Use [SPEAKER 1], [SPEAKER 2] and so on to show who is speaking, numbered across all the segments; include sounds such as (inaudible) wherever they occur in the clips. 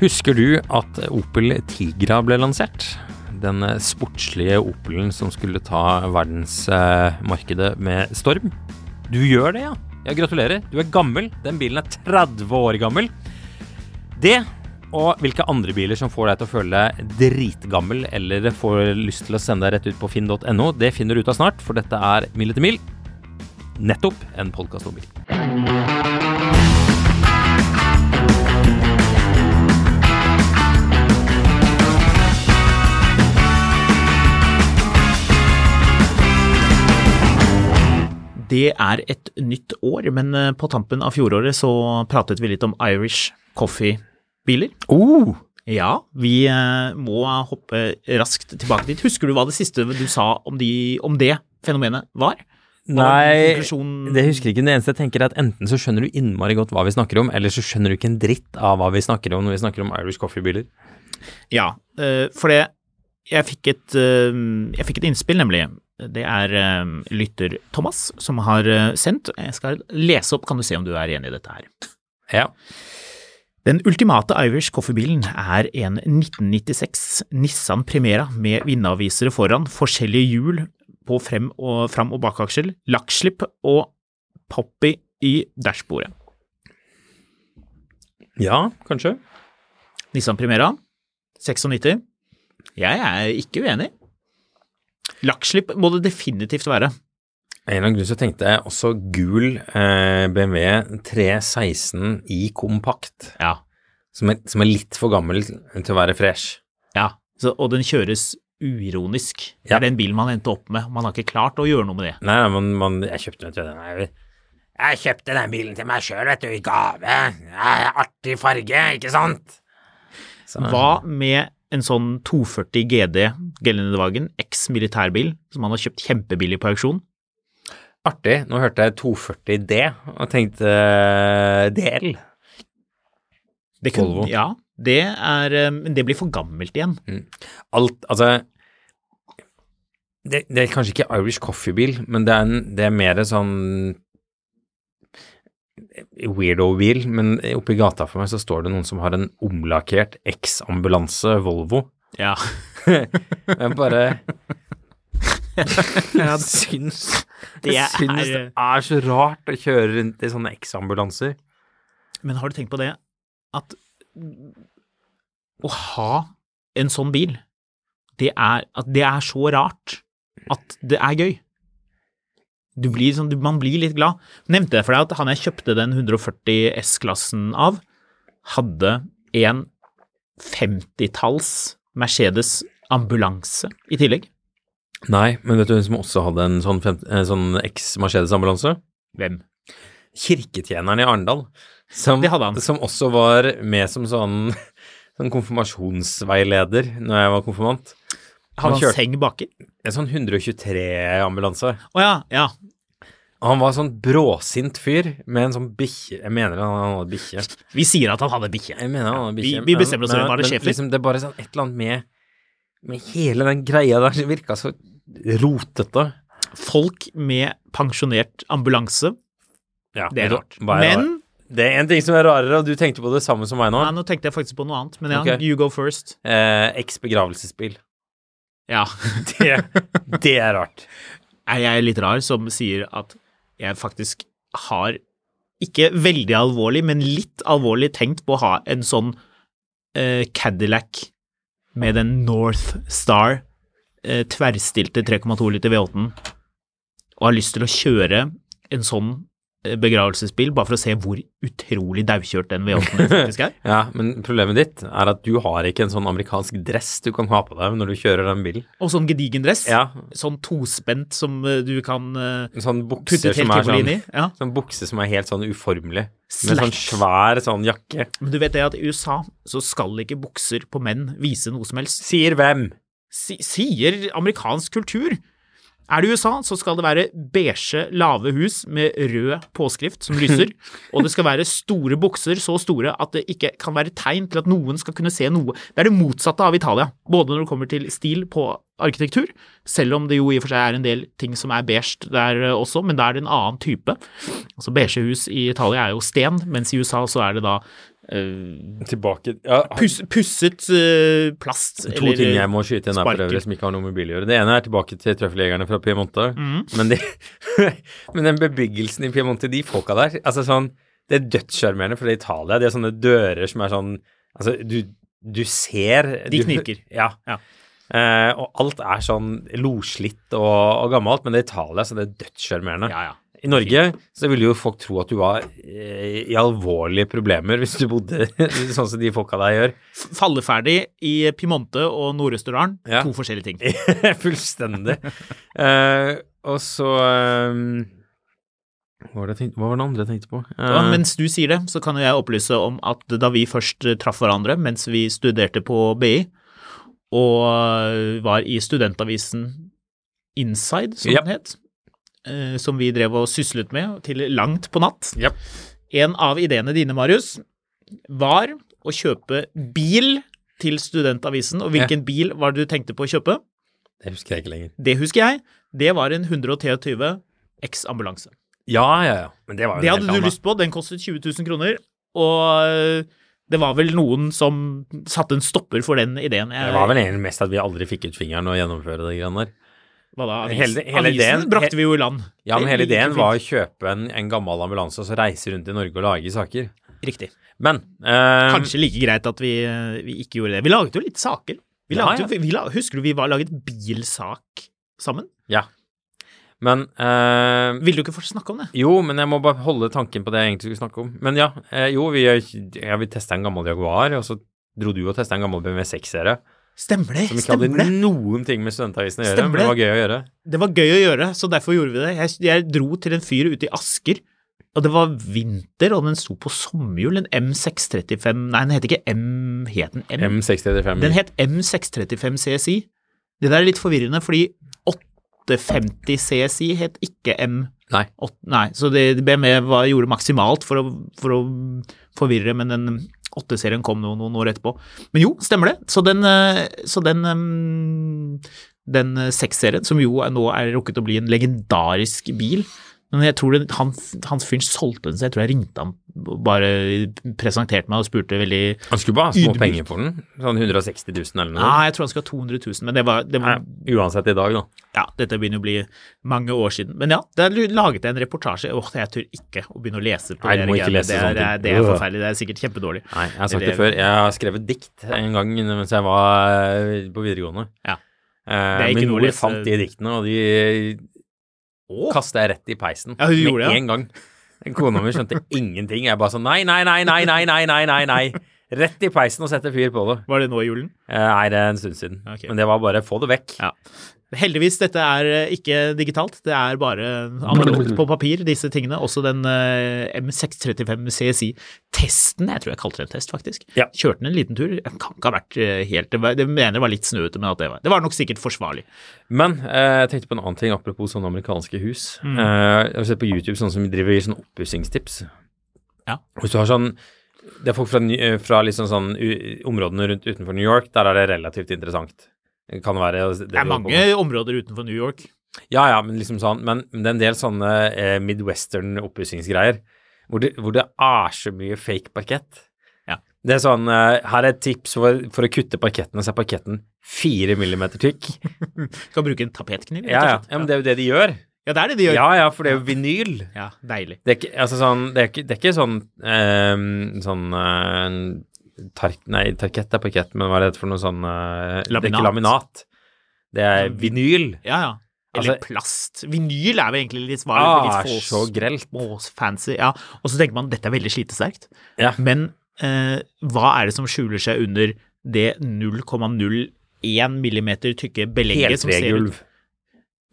[SPEAKER 1] Husker du at Opel Tigra ble lansert? Den eh, sportslige Opelen som skulle ta verdensmarkedet med storm. Du gjør det, ja. Ja, Gratulerer. Du er gammel. Den bilen er 30 år gammel. Det, og hvilke andre biler som får deg til å føle deg dritgammel eller får lyst til å sende deg rett ut på finn.no, det finner du ut av snart, for dette er Mil etter mil. Nettopp en podkast om bil.
[SPEAKER 2] Det er et nytt år, men eh, på tampen av fjoråret så pratet vi litt om Irish Coffee-biler.
[SPEAKER 1] Oh,
[SPEAKER 2] Ja, vi eh, må hoppe raskt tilbake dit. Husker du hva det siste du sa om, de, om det fenomenet var?
[SPEAKER 1] Nei,
[SPEAKER 2] konklusjonen-
[SPEAKER 1] det husker jeg ikke. Det eneste jeg tenker er at enten så skjønner du innmari godt hva vi snakker om, eller så skjønner du ikke en dritt av hva vi snakker om når vi snakker om Irish Coffee-biler.
[SPEAKER 2] Ja, eh, for det jeg fikk, et, eh, jeg fikk et innspill, nemlig. Det er eh, lytter Thomas som har eh, sendt. Jeg skal lese opp, kan du se om du er enig i dette her.
[SPEAKER 1] Ja.
[SPEAKER 2] Den ultimate Irish Coffee-bilen er en 1996 Nissan Primera med vindavisere foran, forskjellige hjul på frem- og, fram- og bakaksel, lakkslipp og poppy i dashbordet.
[SPEAKER 1] ja, kanskje.
[SPEAKER 2] Nissan Primera, 96. Jeg er ikke uenig. Lakkslipp må det definitivt være.
[SPEAKER 1] En eller annen grunn så tenkte jeg også gul eh, BMW 316 i kompakt,
[SPEAKER 2] Ja.
[SPEAKER 1] som er, som er litt for gammel til å være fresh.
[SPEAKER 2] ja. Så, og den kjøres uironisk. Det
[SPEAKER 1] Ja.
[SPEAKER 2] er den bilen man endte opp med. Man har ikke klart å gjøre noe med det.
[SPEAKER 1] Nei, nei, men man, jeg kjøpte vet du, den her. Jeg kjøpte den bilen til meg sjøl, vet du, i gave. Ja, Artig farge, ikke sant? Så-
[SPEAKER 2] Hva med en sånn 240 GD Geländewagen, eks-militærbil, som han har kjøpt kjempebillig på auksjon?
[SPEAKER 1] Artig. Nå hørte jeg 240D og tenkte eh, DL.
[SPEAKER 2] Det kunne-
[SPEAKER 1] Volvo.
[SPEAKER 2] Ja, det er eh, Men det blir for gammelt igjen.
[SPEAKER 1] Alt Altså det, det er kanskje ikke Irish Coffee-bil, men det er, en, det er mer en sånn weirdo-bil. Men oppe i gata for meg så står det noen som har en omlakkert eks-ambulanse Volvo.
[SPEAKER 2] Ja.
[SPEAKER 1] Jeg
[SPEAKER 2] (laughs)
[SPEAKER 1] bare jeg syns
[SPEAKER 2] Det
[SPEAKER 1] Jeg syns det
[SPEAKER 2] er-
[SPEAKER 1] er så rart å kjøre rundt i sånne eks-ambulanser.
[SPEAKER 2] Men har du tenkt på det at å ha en sånn bil, det er, at det er så rart at det er gøy. Du blir sånn, du- man blir litt glad. Nevnte jeg for deg at han jeg kjøpte den 140 S-klassen av, hadde en 50-talls Mercedes ambulanse i tillegg.
[SPEAKER 1] Nei, men vet du hvem som også hadde en sånn, fem- en sånn eks-Mercedes-ambulanse?
[SPEAKER 2] Hvem?
[SPEAKER 1] Kirketjeneren i Arendal. Som,
[SPEAKER 2] Det hadde han.
[SPEAKER 1] som også var med som sånn, (laughs) sånn konfirmasjonsveileder når jeg var konfirmant. Han
[SPEAKER 2] Hadde han
[SPEAKER 1] kjørte-
[SPEAKER 2] seng baki?
[SPEAKER 1] En sånn 123-ambulanse.
[SPEAKER 2] Å ja, ja.
[SPEAKER 1] Og han var sånn bråsint fyr med en sånn bikkje Jeg mener han hadde bikkje.
[SPEAKER 2] Vi sier at han hadde bikkje.
[SPEAKER 1] Jeg mener han hadde bikkje.
[SPEAKER 2] Vi- vi bestemmer oss for
[SPEAKER 1] men-
[SPEAKER 2] hvem var det
[SPEAKER 1] men
[SPEAKER 2] sjefer?
[SPEAKER 1] Liksom, det er bare sånn et eller annet med, med hele den greia der som virka så rotete.
[SPEAKER 2] Folk med pensjonert ambulanse,
[SPEAKER 1] Ja,
[SPEAKER 2] det er
[SPEAKER 1] vet
[SPEAKER 2] rart.
[SPEAKER 1] du hva er
[SPEAKER 2] Men
[SPEAKER 1] Det er en ting som er rarere, og du tenkte på det samme som meg nå.
[SPEAKER 2] Nei, nå tenkte jeg faktisk på noe annet, men ja,
[SPEAKER 1] Ok.
[SPEAKER 2] you go first.
[SPEAKER 1] Eh, X begravelsesbil.
[SPEAKER 2] Ja.
[SPEAKER 1] Det, det er rart.
[SPEAKER 2] Er jeg litt rar som sier at jeg faktisk har ikke veldig alvorlig, men litt alvorlig tenkt på å ha en sånn eh, Cadillac med den North Star eh, tverrstilte 3,2 liter V8-en, og har lyst til å kjøre en sånn eh, begravelsesbil, bare for å se hvor utrolig daukjørt den V8-en faktisk (laughs) er.
[SPEAKER 1] Ja, men problemet ditt er at du har ikke en sånn amerikansk dress du kan ha på deg når du kjører den bilen.
[SPEAKER 2] Og sånn gedigen dress,
[SPEAKER 1] Ja,
[SPEAKER 2] sånn tospent som eh, du kan eh,
[SPEAKER 1] en sånn
[SPEAKER 2] putte
[SPEAKER 1] bukse
[SPEAKER 2] et
[SPEAKER 1] som
[SPEAKER 2] helt
[SPEAKER 1] er
[SPEAKER 2] tivoli
[SPEAKER 1] sånn
[SPEAKER 2] inn i. Ja.
[SPEAKER 1] Sånn bukse som er helt sånn uformelig. Med sånn
[SPEAKER 2] Slacks.
[SPEAKER 1] svær sånn jakke.
[SPEAKER 2] Men du vet det at i USA så skal ikke bukser på menn vise noe som helst.
[SPEAKER 1] Sier hvem?
[SPEAKER 2] Si, sier amerikansk kultur. Er det USA, så skal det være beige, lave hus med rød påskrift som (laughs) lyser, og det skal være store bukser så store at det ikke kan være tegn til at noen skal kunne se noe. Det er det motsatte av Italia, både når det kommer til stil på arkitektur, selv om det jo i og for seg er en del ting som er beige der eh, også, men da er det en annen type. Altså Beige hus i Italia er jo sten, mens i USA så er det da eh,
[SPEAKER 1] Tilbake ja, han-
[SPEAKER 2] pus, pusset eh, plast.
[SPEAKER 1] To ting jeg må skyte inn her for
[SPEAKER 2] eh, sparker.
[SPEAKER 1] øvrig som ikke har noe med bil å gjøre. Det ene er tilbake til trøffeljegerne fra Piemonte.
[SPEAKER 2] Mhm.
[SPEAKER 1] Men, de, (laughs) men den bebyggelsen i Piemonte, de folka der altså sånn, Det er dødssjarmerende, for det er Italia. De har sånne dører som er sånn Altså, du, du ser
[SPEAKER 2] De
[SPEAKER 1] du,
[SPEAKER 2] knirker.
[SPEAKER 1] Ja.
[SPEAKER 2] Ja.
[SPEAKER 1] Eh, og alt er sånn loslitt og, og gammelt, men det er Italia, så det er dødssjarmerende.
[SPEAKER 2] Ja, ja.
[SPEAKER 1] I Norge så ville jo folk tro at du var eh, i alvorlige problemer hvis du bodde (laughs) sånn som de folka der gjør.
[SPEAKER 2] F- Falleferdig i Piemonte og Nord-Østerdalen.
[SPEAKER 1] Ja.
[SPEAKER 2] To forskjellige ting.
[SPEAKER 1] (laughs) Fullstendig. Eh, og så eh, hva, var det jeg tenkte, hva var det andre jeg tenkte på?
[SPEAKER 2] Ja,
[SPEAKER 1] Eh,
[SPEAKER 2] mens du sier det, så kan jo jeg opplyse om at da vi først eh, traff hverandre mens vi studerte på BI, og eh, var i studentavisen Inside, som
[SPEAKER 1] Ja.
[SPEAKER 2] den het, eh, som vi drev og syslet med til langt på natt.
[SPEAKER 1] Ja.
[SPEAKER 2] En av ideene dine, Marius, var å kjøpe bil til studentavisen, og hvilken bil var det du tenkte på å kjøpe?
[SPEAKER 1] det husker jeg ikke lenger.
[SPEAKER 2] Det husker jeg. Det var en 123 X ambulanse.
[SPEAKER 1] Ja, ja, ja. Men det var jo
[SPEAKER 2] Det
[SPEAKER 1] en
[SPEAKER 2] hadde
[SPEAKER 1] helt
[SPEAKER 2] du
[SPEAKER 1] annen.
[SPEAKER 2] lyst på. Den kostet 20 000 kroner. Og eh, det var vel noen som satte en stopper for den ideen.
[SPEAKER 1] Det
[SPEAKER 2] Jeg,
[SPEAKER 1] var vel egentlig mest at vi aldri fikk ut fingeren og gjennomføre de greiene der.
[SPEAKER 2] hva da, avis,
[SPEAKER 1] hele- hele
[SPEAKER 2] avisen
[SPEAKER 1] ideen-
[SPEAKER 2] brakte vi jo i land.
[SPEAKER 1] Ja, men
[SPEAKER 2] Det
[SPEAKER 1] hele
[SPEAKER 2] ligger
[SPEAKER 1] ideen
[SPEAKER 2] fint.
[SPEAKER 1] var å kjøpe en, en gammel ambulanse og så reise rundt i Norge og lage saker.
[SPEAKER 2] Riktig.
[SPEAKER 1] Men eh,
[SPEAKER 2] Kanskje like greit at vi, eh, vi ikke gjorde det. Vi laget jo litt saker. Vi
[SPEAKER 1] Ja, ja.
[SPEAKER 2] laget, jo- Vi, la- husker du vi var laget bilsak sammen?
[SPEAKER 1] Men eh,
[SPEAKER 2] Ville du ikke få snakke om det?
[SPEAKER 1] Jo, men jeg må bare holde tanken på det jeg egentlig skulle snakke om. Men ja, eh, jo, vi, ja, vi testa en gammel Jaguar, og så dro du og testa en gammel BMW 6-serie.
[SPEAKER 2] Stemmer det?
[SPEAKER 1] Som ikke
[SPEAKER 2] Stemmer
[SPEAKER 1] hadde
[SPEAKER 2] det?
[SPEAKER 1] noen ting med studentavisen å gjøre,
[SPEAKER 2] Stemmer
[SPEAKER 1] men det
[SPEAKER 2] det.
[SPEAKER 1] var gøy å gjøre.
[SPEAKER 2] Det var gøy å gjøre, så derfor gjorde vi det. Jeg, jeg dro til en fyr ute i Asker, og det var vinter, og den sto på sommerhjul, en M635 Nei, den het ikke M, het den M?
[SPEAKER 1] M635.
[SPEAKER 2] Mm. Den het M635 CSI. Det der er litt forvirrende, fordi 850 CSI het ikke M.
[SPEAKER 1] Nei.
[SPEAKER 2] Åt- nei, så det, BMW var, gjorde maksimalt for å, for å forvirre, men den 8-serien kom noen, noen år etterpå. Men jo, stemmer det. Så den, eh, så den, eh, den 6-serien, som jo er, nå er rukket å bli en legendarisk bil men jeg tror den, han, han fyren solgte den, så jeg tror jeg ringte ham, bare presenterte meg og spurte veldig
[SPEAKER 1] Han skulle bare ha små
[SPEAKER 2] Ydmyk. Ah.
[SPEAKER 1] penger for den. Sånn 160 000 eller noe.
[SPEAKER 2] Nei, jeg tror han skal ha 200 000, men det var, det var
[SPEAKER 1] Nei, uansett i dag, da.
[SPEAKER 2] ja, dette begynner å bli mange år siden. Men ja, der laget jeg en reportasje. Åh, jeg tør ikke å begynne å lese på
[SPEAKER 1] Nei,
[SPEAKER 2] det.
[SPEAKER 1] du må
[SPEAKER 2] der
[SPEAKER 1] ikke
[SPEAKER 2] greiene.
[SPEAKER 1] lese
[SPEAKER 2] det,
[SPEAKER 1] sånne
[SPEAKER 2] er,
[SPEAKER 1] ting.
[SPEAKER 2] det er
[SPEAKER 1] Øh.
[SPEAKER 2] forferdelig. Det er sikkert kjempedårlig.
[SPEAKER 1] Nei, jeg har sagt
[SPEAKER 2] Eller-
[SPEAKER 1] det før. Jeg har skrevet dikt en gang mens jeg var eh, på videregående.
[SPEAKER 2] Ja.
[SPEAKER 1] Eh,
[SPEAKER 2] Det er ikke
[SPEAKER 1] Min
[SPEAKER 2] noe å
[SPEAKER 1] mor
[SPEAKER 2] lese-
[SPEAKER 1] fant de diktene, og de
[SPEAKER 2] Åh,
[SPEAKER 1] kasta jeg rett i peisen.
[SPEAKER 2] Ja, hun gjorde det, ja.
[SPEAKER 1] Med en gang. Kona mi
[SPEAKER 2] (laughs)
[SPEAKER 1] skjønte ingenting. Jeg bare sånn nei, nei, nei, nei, nei, nei, nei, nei, nei. Rett i peisen og sette fyr på det.
[SPEAKER 2] var det nå i julen?
[SPEAKER 1] Eh, Nei, det er en stund siden.
[SPEAKER 2] Ok.
[SPEAKER 1] Men det var bare få det vekk.
[SPEAKER 2] Ja. Heldigvis, dette er eh, ikke digitalt. Det er bare analogt på papir, disse tingene. Også den eh, M635 CSI-testen. Jeg tror jeg kalte det en test, faktisk.
[SPEAKER 1] Ja.
[SPEAKER 2] Kjørte den en liten tur. Den kan ikke ha vært eh, helt Det var- det mener jeg var litt snøete, men at det var Det var nok sikkert forsvarlig.
[SPEAKER 1] Men eh, jeg tenkte på en annen ting apropos sånne amerikanske hus.
[SPEAKER 2] Mm.
[SPEAKER 1] Eh, jeg har sett på YouTube sånne som driver og gir sånne oppussingstips.
[SPEAKER 2] Ja.
[SPEAKER 1] Hvis du har sånn Det er folk fra, Ny- eh, fra liksom sånn u, områdene rundt utenfor New York, der er det relativt interessant. Det kan være det
[SPEAKER 2] Det
[SPEAKER 1] vi
[SPEAKER 2] er
[SPEAKER 1] holder på
[SPEAKER 2] mange
[SPEAKER 1] med.
[SPEAKER 2] områder utenfor New York.
[SPEAKER 1] Ja, ja, men liksom sånn Men men det er en del sånne eh, midwestern oppussingsgreier hvor, det- hvor det er så mye fake parkett.
[SPEAKER 2] Ja.
[SPEAKER 1] Det er sånn eh, Her er et tips for, for å kutte parketten, og så er parketten fire millimeter
[SPEAKER 2] (laughs)
[SPEAKER 1] tykk.
[SPEAKER 2] Skal bruke en tapetkniv, rett
[SPEAKER 1] Ja,
[SPEAKER 2] og
[SPEAKER 1] ja.
[SPEAKER 2] slett.
[SPEAKER 1] ja, men det er jo det de gjør.
[SPEAKER 2] Ja, det er det de gjør.
[SPEAKER 1] Ja, ja, for det er jo vinyl.
[SPEAKER 2] Ja, deilig.
[SPEAKER 1] Det er ikke, altså sånn, det er ikke, det er ikke sånn ehm, sånn eh, tark, Nei, tarkett er parkett, men hva er det for noe sånn eh, Det er ikke laminat. Det er vinyl.
[SPEAKER 2] Ja, ja. Eller
[SPEAKER 1] Altså-
[SPEAKER 2] plast. Vinyl er vel egentlig litt svaret.
[SPEAKER 1] Ah,
[SPEAKER 2] litt
[SPEAKER 1] så grelt.
[SPEAKER 2] fancy. Ja. Og så tenker man dette er veldig slitesterkt.
[SPEAKER 1] Ja.
[SPEAKER 2] Men eh, hva er det som skjuler seg under det 0,01 millimeter tykke belegget som ser ut
[SPEAKER 1] Heltregulv.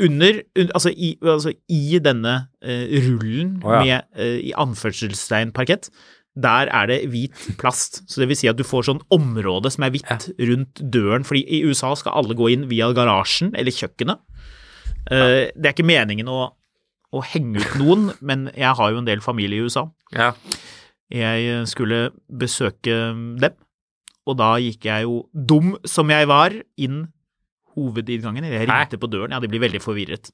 [SPEAKER 2] under, un- altså, i, altså i denne eh, rullen
[SPEAKER 1] Å, ja.
[SPEAKER 2] med eh, i anførselstegn parkett, der er det hvit plast. (laughs) Så det vil si at du får sånn område som er hvitt rundt døren, fordi i USA skal alle gå inn via garasjen eller kjøkkenet. Eh, Det er ikke meningen å, å henge ut noen, men jeg har jo en del familie i USA.
[SPEAKER 1] Ja.
[SPEAKER 2] Jeg eh, skulle besøke mm, dem, og da gikk jeg jo, dum som jeg var, inn hovedinngangen. Jeg ringte på døren, ja, de blir veldig forvirret.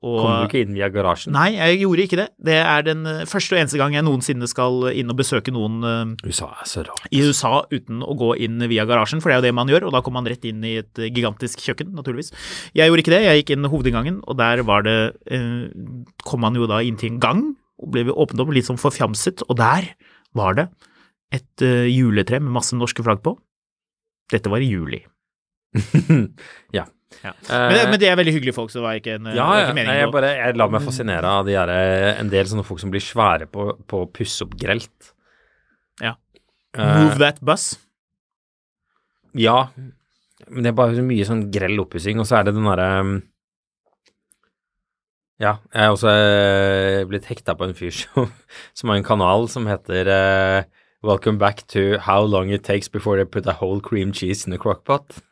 [SPEAKER 2] Og,
[SPEAKER 1] Kom du ikke inn via garasjen?
[SPEAKER 2] Nei, jeg gjorde ikke det. Det er den eh, første og eneste gang jeg noensinne skal inn og besøke noen eh,
[SPEAKER 1] USA er så rart.
[SPEAKER 2] i USA uten å gå inn via garasjen, for det er jo det man gjør, og da kom man rett inn i et eh, gigantisk kjøkken, naturligvis. Jeg gjorde ikke det, jeg gikk inn hovedinngangen, og der var det eh, kom man jo da inn til en gang, og ble åpnet opp litt sånn forfjamset, og der var det et eh, juletre med masse norske flagg på. Dette var i juli.
[SPEAKER 1] (laughs) ja.
[SPEAKER 2] Ja.
[SPEAKER 1] Eh,
[SPEAKER 2] Men det, men det er veldig hyggelige folk, så det var ikke en eh,
[SPEAKER 1] ja,
[SPEAKER 2] det var
[SPEAKER 1] ja.
[SPEAKER 2] ikke
[SPEAKER 1] Nei,
[SPEAKER 2] meningen
[SPEAKER 1] jeg,
[SPEAKER 2] å-
[SPEAKER 1] bare, jeg lar meg fascinere av de der, en del sånne folk som blir svære på, på å pusse opp grelt.
[SPEAKER 2] Ja.
[SPEAKER 1] Eh,
[SPEAKER 2] Move that bus.
[SPEAKER 1] Ja, men det er bare så mye sånn grell oppussing, og så er det den derre um, Ja, jeg er også eh, blitt hekta på en fyr (laughs) som, som har en kanal som heter eh, Welcome back to how long it takes before they put a whole cream cheese in a crockpot.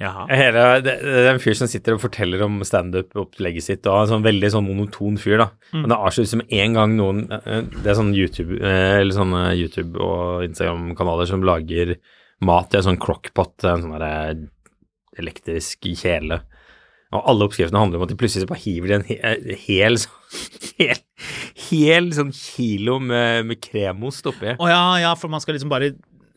[SPEAKER 2] Jaha.
[SPEAKER 1] Hele, det, det er en fyr som sitter og forteller om standup-opplegget sitt, og er en sånn veldig sånn monoton fyr, da.
[SPEAKER 2] Mm.
[SPEAKER 1] Men det avsluttes med en gang noen eh, Det er sånn YouTube, eh, eller sånne YouTube- og Instagram-kanaler som lager mat i en sånn crockpot, en sånn derre elektrisk kjele. Og alle oppskriftene handler om at de plutselig bare hiver de en he eh, hel, sånn, (laughs) hel, hel sånn kilo med, med kremost oppi.
[SPEAKER 2] Å ja, ja, for man skal liksom bare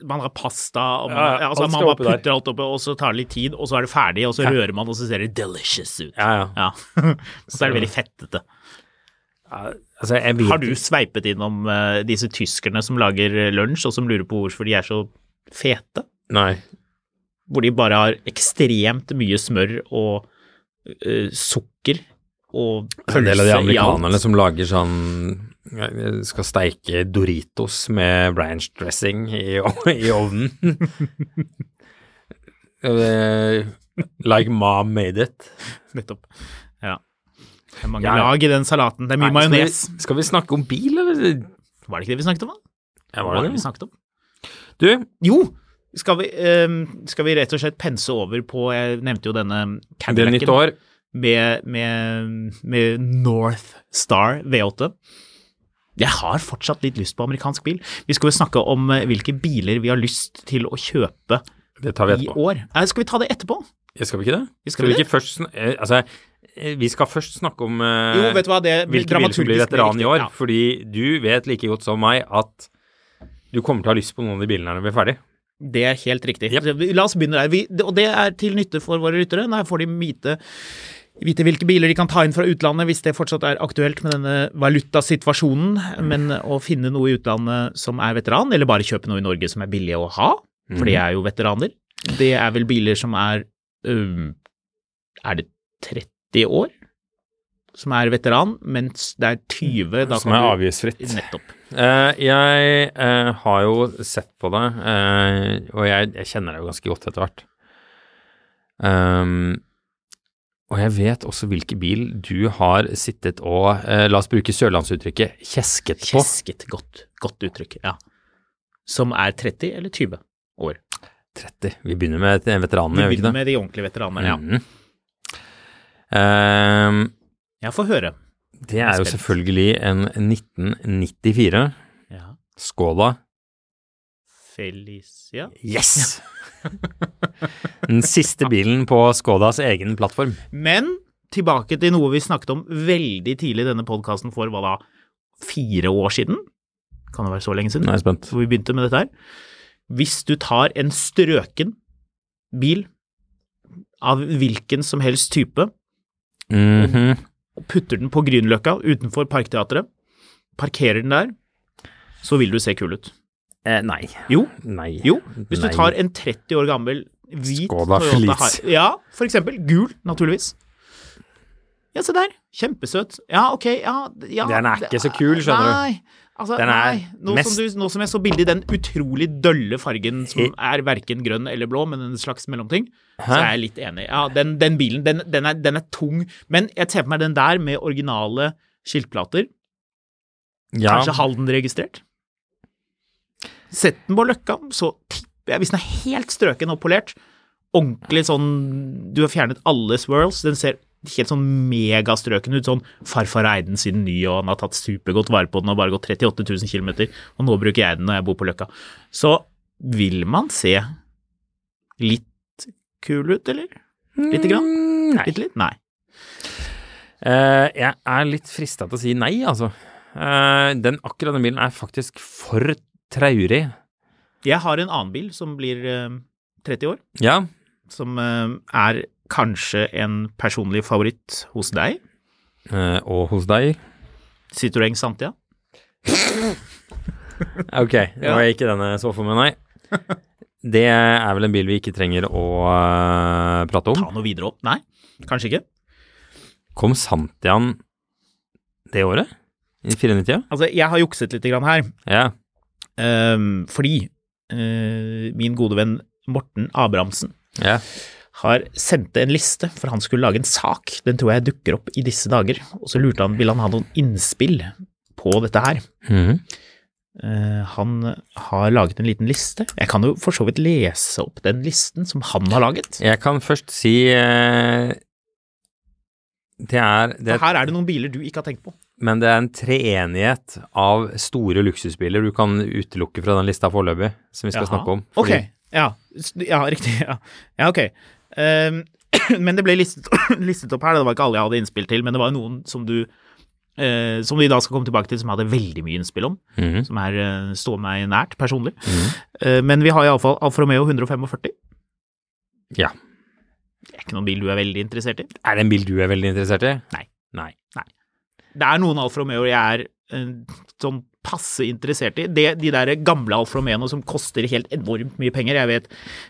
[SPEAKER 2] man har pasta, og man,
[SPEAKER 1] Ja, ja,
[SPEAKER 2] ja, altså,
[SPEAKER 1] alt
[SPEAKER 2] man
[SPEAKER 1] skal
[SPEAKER 2] bare
[SPEAKER 1] oppi der.
[SPEAKER 2] putter alt oppi, og så tar det litt tid, og så er det ferdig, og så rører man, og så ser det delicious ut.
[SPEAKER 1] Ja, ja.
[SPEAKER 2] Ja. (laughs) så er det veldig fettete.
[SPEAKER 1] Altså, jeg vet
[SPEAKER 2] Har du sveipet innom eh, disse tyskerne som lager eh, lunsj, og som lurer på hvorfor de er så fete?
[SPEAKER 1] Nei.
[SPEAKER 2] Hvor de bare har ekstremt mye smør og eh, sukker og pølse i alt.
[SPEAKER 1] En del av de amerikanerne som lager sånn eh, skal steike Doritos med ranch dressing i, i (laughs) ovnen. Eh, like mom made it.
[SPEAKER 2] Nettopp. Ja. Det er mange
[SPEAKER 1] Ja, ja.
[SPEAKER 2] lag i den salaten. Det er mye
[SPEAKER 1] Nei, skal vi-
[SPEAKER 2] majones.
[SPEAKER 1] Skal vi snakke om bil, eller?
[SPEAKER 2] Var det ikke det vi snakket om, da?
[SPEAKER 1] Ja, var
[SPEAKER 2] Hva var
[SPEAKER 1] det
[SPEAKER 2] det vi
[SPEAKER 1] det?
[SPEAKER 2] snakket om?
[SPEAKER 1] Du,
[SPEAKER 2] Jo, skal vi, ehm, skal vi rett og slett pense over på Jeg nevnte jo denne
[SPEAKER 1] det er nytt
[SPEAKER 2] Cadillacen
[SPEAKER 1] år.
[SPEAKER 2] med, med, med North Star V8. Jeg har fortsatt litt lyst på amerikansk bil. Vi skal jo snakke om eh, hvilke biler vi har lyst til å kjøpe
[SPEAKER 1] Det tar vi
[SPEAKER 2] i
[SPEAKER 1] etterpå.
[SPEAKER 2] år. Eh, Skal vi ta det etterpå?
[SPEAKER 1] Ja, Skal vi ikke det?
[SPEAKER 2] Skal vi
[SPEAKER 1] ikke først sn- eh, Altså, eh, vi skal først snakke om eh,
[SPEAKER 2] Jo, vet du hva, det
[SPEAKER 1] hvilke biler som blir
[SPEAKER 2] dramaturgisk
[SPEAKER 1] veteran i
[SPEAKER 2] riktig.
[SPEAKER 1] år.
[SPEAKER 2] Ja.
[SPEAKER 1] Fordi du vet like godt som meg at du kommer til å ha lyst på noen av de bilene når vi er ferdig.
[SPEAKER 2] Det er helt riktig. La oss begynne der. Vi, det- og det er til nytte for våre lyttere. Der får de vite, vite hvilke biler de kan ta inn fra utlandet hvis det fortsatt er aktuelt med denne valutasituasjonen. Men å finne noe i utlandet som er veteran, eller bare kjøpe noe i Norge som er billig å ha, for
[SPEAKER 1] Mhm.
[SPEAKER 2] de er jo veteraner, det er vel biler som er øhm, Er det 30 år som er veteran, mens det er 20 da
[SPEAKER 1] Som
[SPEAKER 2] kan
[SPEAKER 1] er
[SPEAKER 2] du-
[SPEAKER 1] avgiftsfritt.
[SPEAKER 2] Nettopp.
[SPEAKER 1] Eh, jeg eh, har jo sett på det, eh, og jeg, jeg kjenner deg jo ganske godt etter hvert. Ehm, og jeg vet også hvilken bil du har sittet og, eh, la oss bruke sørlandsuttrykket, kjesket på.
[SPEAKER 2] Kjesket godt, godt uttrykk, ja. Som er 30 eller 20 år.
[SPEAKER 1] 30. Vi begynner med eh, veteranene,
[SPEAKER 2] Vi
[SPEAKER 1] gjør vi ikke det?
[SPEAKER 2] begynner med de ordentlige veteranene, ja.
[SPEAKER 1] Mhm. Ehm,
[SPEAKER 2] Jeg får høre.
[SPEAKER 1] det er jo
[SPEAKER 2] Spent.
[SPEAKER 1] selvfølgelig en 1994
[SPEAKER 2] Ja.
[SPEAKER 1] Skåla.
[SPEAKER 2] Felicia
[SPEAKER 1] Yes! Den siste bilen på Skådas egen plattform.
[SPEAKER 2] Men tilbake til noe vi snakket om veldig tidlig i denne podkasten for hva da, fire år siden? Kan det være så lenge siden?
[SPEAKER 1] Nå er jeg spent.
[SPEAKER 2] hvor vi begynte med dette her. Hvis du tar en strøken bil av hvilken som helst type,
[SPEAKER 1] Mhm.
[SPEAKER 2] og putter den på Grünerløkka utenfor Parkteatret, parkerer den der, så vil du se kul ut.
[SPEAKER 1] eh, nei.
[SPEAKER 2] Jo,
[SPEAKER 1] Nei.
[SPEAKER 2] jo. Hvis
[SPEAKER 1] Nei.
[SPEAKER 2] du tar en 30 år gammel hvit
[SPEAKER 1] Skoda
[SPEAKER 2] Toyota
[SPEAKER 1] Feliz.
[SPEAKER 2] Hi- Ja, for eksempel. Gul, naturligvis. Ja, se der. Kjempesøt. Ja, ok, ja, d- ja
[SPEAKER 1] Den er ikke så kul, skjønner du.
[SPEAKER 2] nei. Altså,
[SPEAKER 1] Den er
[SPEAKER 2] nei. Nå,
[SPEAKER 1] mest-
[SPEAKER 2] som du, nå som jeg så bildet i den utrolig dølle fargen som er verken grønn eller blå, men en slags mellomting, så er jeg litt enig. Ja, den, den bilen, den, den, er, den er tung, men jeg ser på meg den der med originale skiltplater.
[SPEAKER 1] ja.
[SPEAKER 2] Kanskje Halden-registrert? Sett den på Løkka, så tipper jeg, hvis den er helt strøken og polert, ordentlig sånn Du har fjernet alle swirls, den ser helt sånn megastrøken ut, sånn farfar eide den siden ny, og han har tatt supergodt vare på den og bare gått 38 000 km, og nå bruker jeg den når jeg bor på Løkka. Så vil man se litt kul ut, eller? Lite grann?
[SPEAKER 1] Mm, Nei.
[SPEAKER 2] Bitte litt? Nei.
[SPEAKER 1] Eh, jeg er litt frista til å si nei, altså. Eh, den, akkurat den bilen er faktisk for traurig.
[SPEAKER 2] Jeg har en annen bil som blir eh, 30 år,
[SPEAKER 1] Ja,
[SPEAKER 2] som eh, er kanskje en personlig favoritt hos deg.
[SPEAKER 1] eh, og hos deg.
[SPEAKER 2] Citroën Santia. (laughs)
[SPEAKER 1] Ok, det var ikke den jeg så for meg, nei. Det er vel en bil vi ikke trenger å eh, prate om.
[SPEAKER 2] Ta noe videre opp. Nei, kanskje ikke.
[SPEAKER 1] Kom Santian det året? I 94?
[SPEAKER 2] Altså, jeg har jukset litt grann her,
[SPEAKER 1] Ja.
[SPEAKER 2] eh, fordi eh, min gode venn Morten Abrahamsen
[SPEAKER 1] ja.
[SPEAKER 2] har sendt en liste, for han skulle lage en sak. Den tror jeg dukker opp i disse dager. Og så lurte han, ville han ha noen innspill på dette her.
[SPEAKER 1] Mhm.
[SPEAKER 2] Eh, han har laget en liten liste. Jeg kan jo for så vidt lese opp den listen som han har laget.
[SPEAKER 1] Jeg kan først si eh, Det er, det
[SPEAKER 2] For
[SPEAKER 1] er
[SPEAKER 2] her er det noen biler du ikke har tenkt på.
[SPEAKER 1] Men det er en treenighet av store luksusbiler du kan utelukke fra den lista foreløpig, som vi skal
[SPEAKER 2] Jaha.
[SPEAKER 1] snakke om.
[SPEAKER 2] Ok, ja. S- ja riktig. Ja, ja ok. Ehm, (clears throat) men det ble listet, (clears throat) listet opp her, det var ikke alle jeg hadde innspill til, men det var noen som du eh, som vi da skal komme tilbake til, som jeg hadde veldig mye innspill om,
[SPEAKER 1] Mhm.
[SPEAKER 2] som er, eh, står meg nært personlig. Eh, men vi har iallfall Alfa Romeo 145.
[SPEAKER 1] Ja.
[SPEAKER 2] Det er ikke noen bil du er veldig interessert i?
[SPEAKER 1] Er det en bil du er veldig interessert i?
[SPEAKER 2] Nei.
[SPEAKER 1] Nei.
[SPEAKER 2] Det er noen Alfa Romeo jeg er eh, sånn passe interessert i. Det, de der gamle Alfa Romeoene som koster helt enormt mye penger. Jeg vet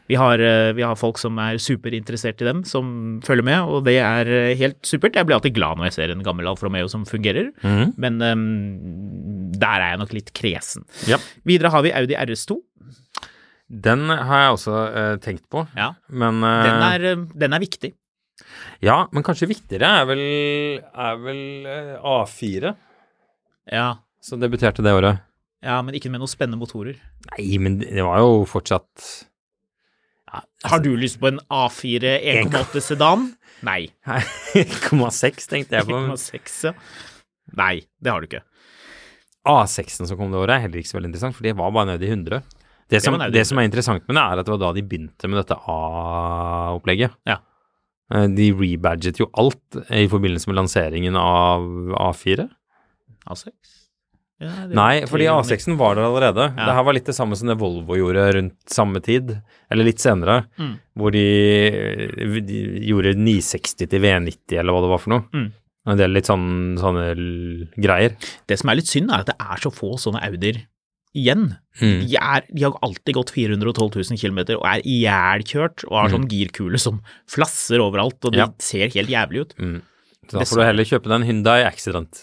[SPEAKER 2] vi har, eh, vi har folk som er superinteressert i dem, som følger med, og det er eh, helt supert. Jeg blir alltid glad når jeg ser en gammel Alfa Romeo som fungerer,
[SPEAKER 1] Mhm.
[SPEAKER 2] men eh, der er jeg nok litt kresen.
[SPEAKER 1] Ja.
[SPEAKER 2] Videre har vi Audi RS2.
[SPEAKER 1] Den har jeg også eh, tenkt på,
[SPEAKER 2] Ja.
[SPEAKER 1] men eh,
[SPEAKER 2] Den er, eh, den er viktig.
[SPEAKER 1] Ja, men kanskje viktigere er vel, er vel eh, A4,
[SPEAKER 2] Ja.
[SPEAKER 1] som debuterte det året.
[SPEAKER 2] ja, men ikke med noen spennende motorer.
[SPEAKER 1] Nei, men det var jo fortsatt (laughs)
[SPEAKER 2] Har du lyst på en A4 1,8 sedan? Nei.
[SPEAKER 1] 1,6, tenkte
[SPEAKER 2] (laughs)
[SPEAKER 1] jeg på.
[SPEAKER 2] 1,6, ja. Nei, det har du ikke.
[SPEAKER 1] A6-en som kom det året, er heller ikke så veldig interessant, for det var bare nede i 100. Det som,
[SPEAKER 2] var
[SPEAKER 1] det,
[SPEAKER 2] nede i
[SPEAKER 1] som er interessant med det, er at det var da de begynte med dette A-opplegget.
[SPEAKER 2] Ja.
[SPEAKER 1] Eh, De rebadget jo alt eh, i forbindelse med lanseringen av A4.
[SPEAKER 2] A6? Ja, det-
[SPEAKER 1] Nei, fordi A6-en var der allerede.
[SPEAKER 2] Ja.
[SPEAKER 1] Det her var litt det samme som det Volvo gjorde rundt samme tid, eller litt senere,
[SPEAKER 2] Mm.
[SPEAKER 1] hvor de, eh, de gjorde 960 til V90, eller hva det var for noe.
[SPEAKER 2] Mm.
[SPEAKER 1] En del litt sånn, sånne l- greier.
[SPEAKER 2] Det som er litt synd, er at det er så få sånne Audier igjen.
[SPEAKER 1] Mm.
[SPEAKER 2] De, er, de har alltid gått 412 000 km og er ihjelkjørt og har sånn girkule som flasser overalt, og de
[SPEAKER 1] Ja.
[SPEAKER 2] ser helt jævlig ut.
[SPEAKER 1] Mm. Så da får
[SPEAKER 2] Dessverre.
[SPEAKER 1] du heller kjøpe den Hyundai Accident.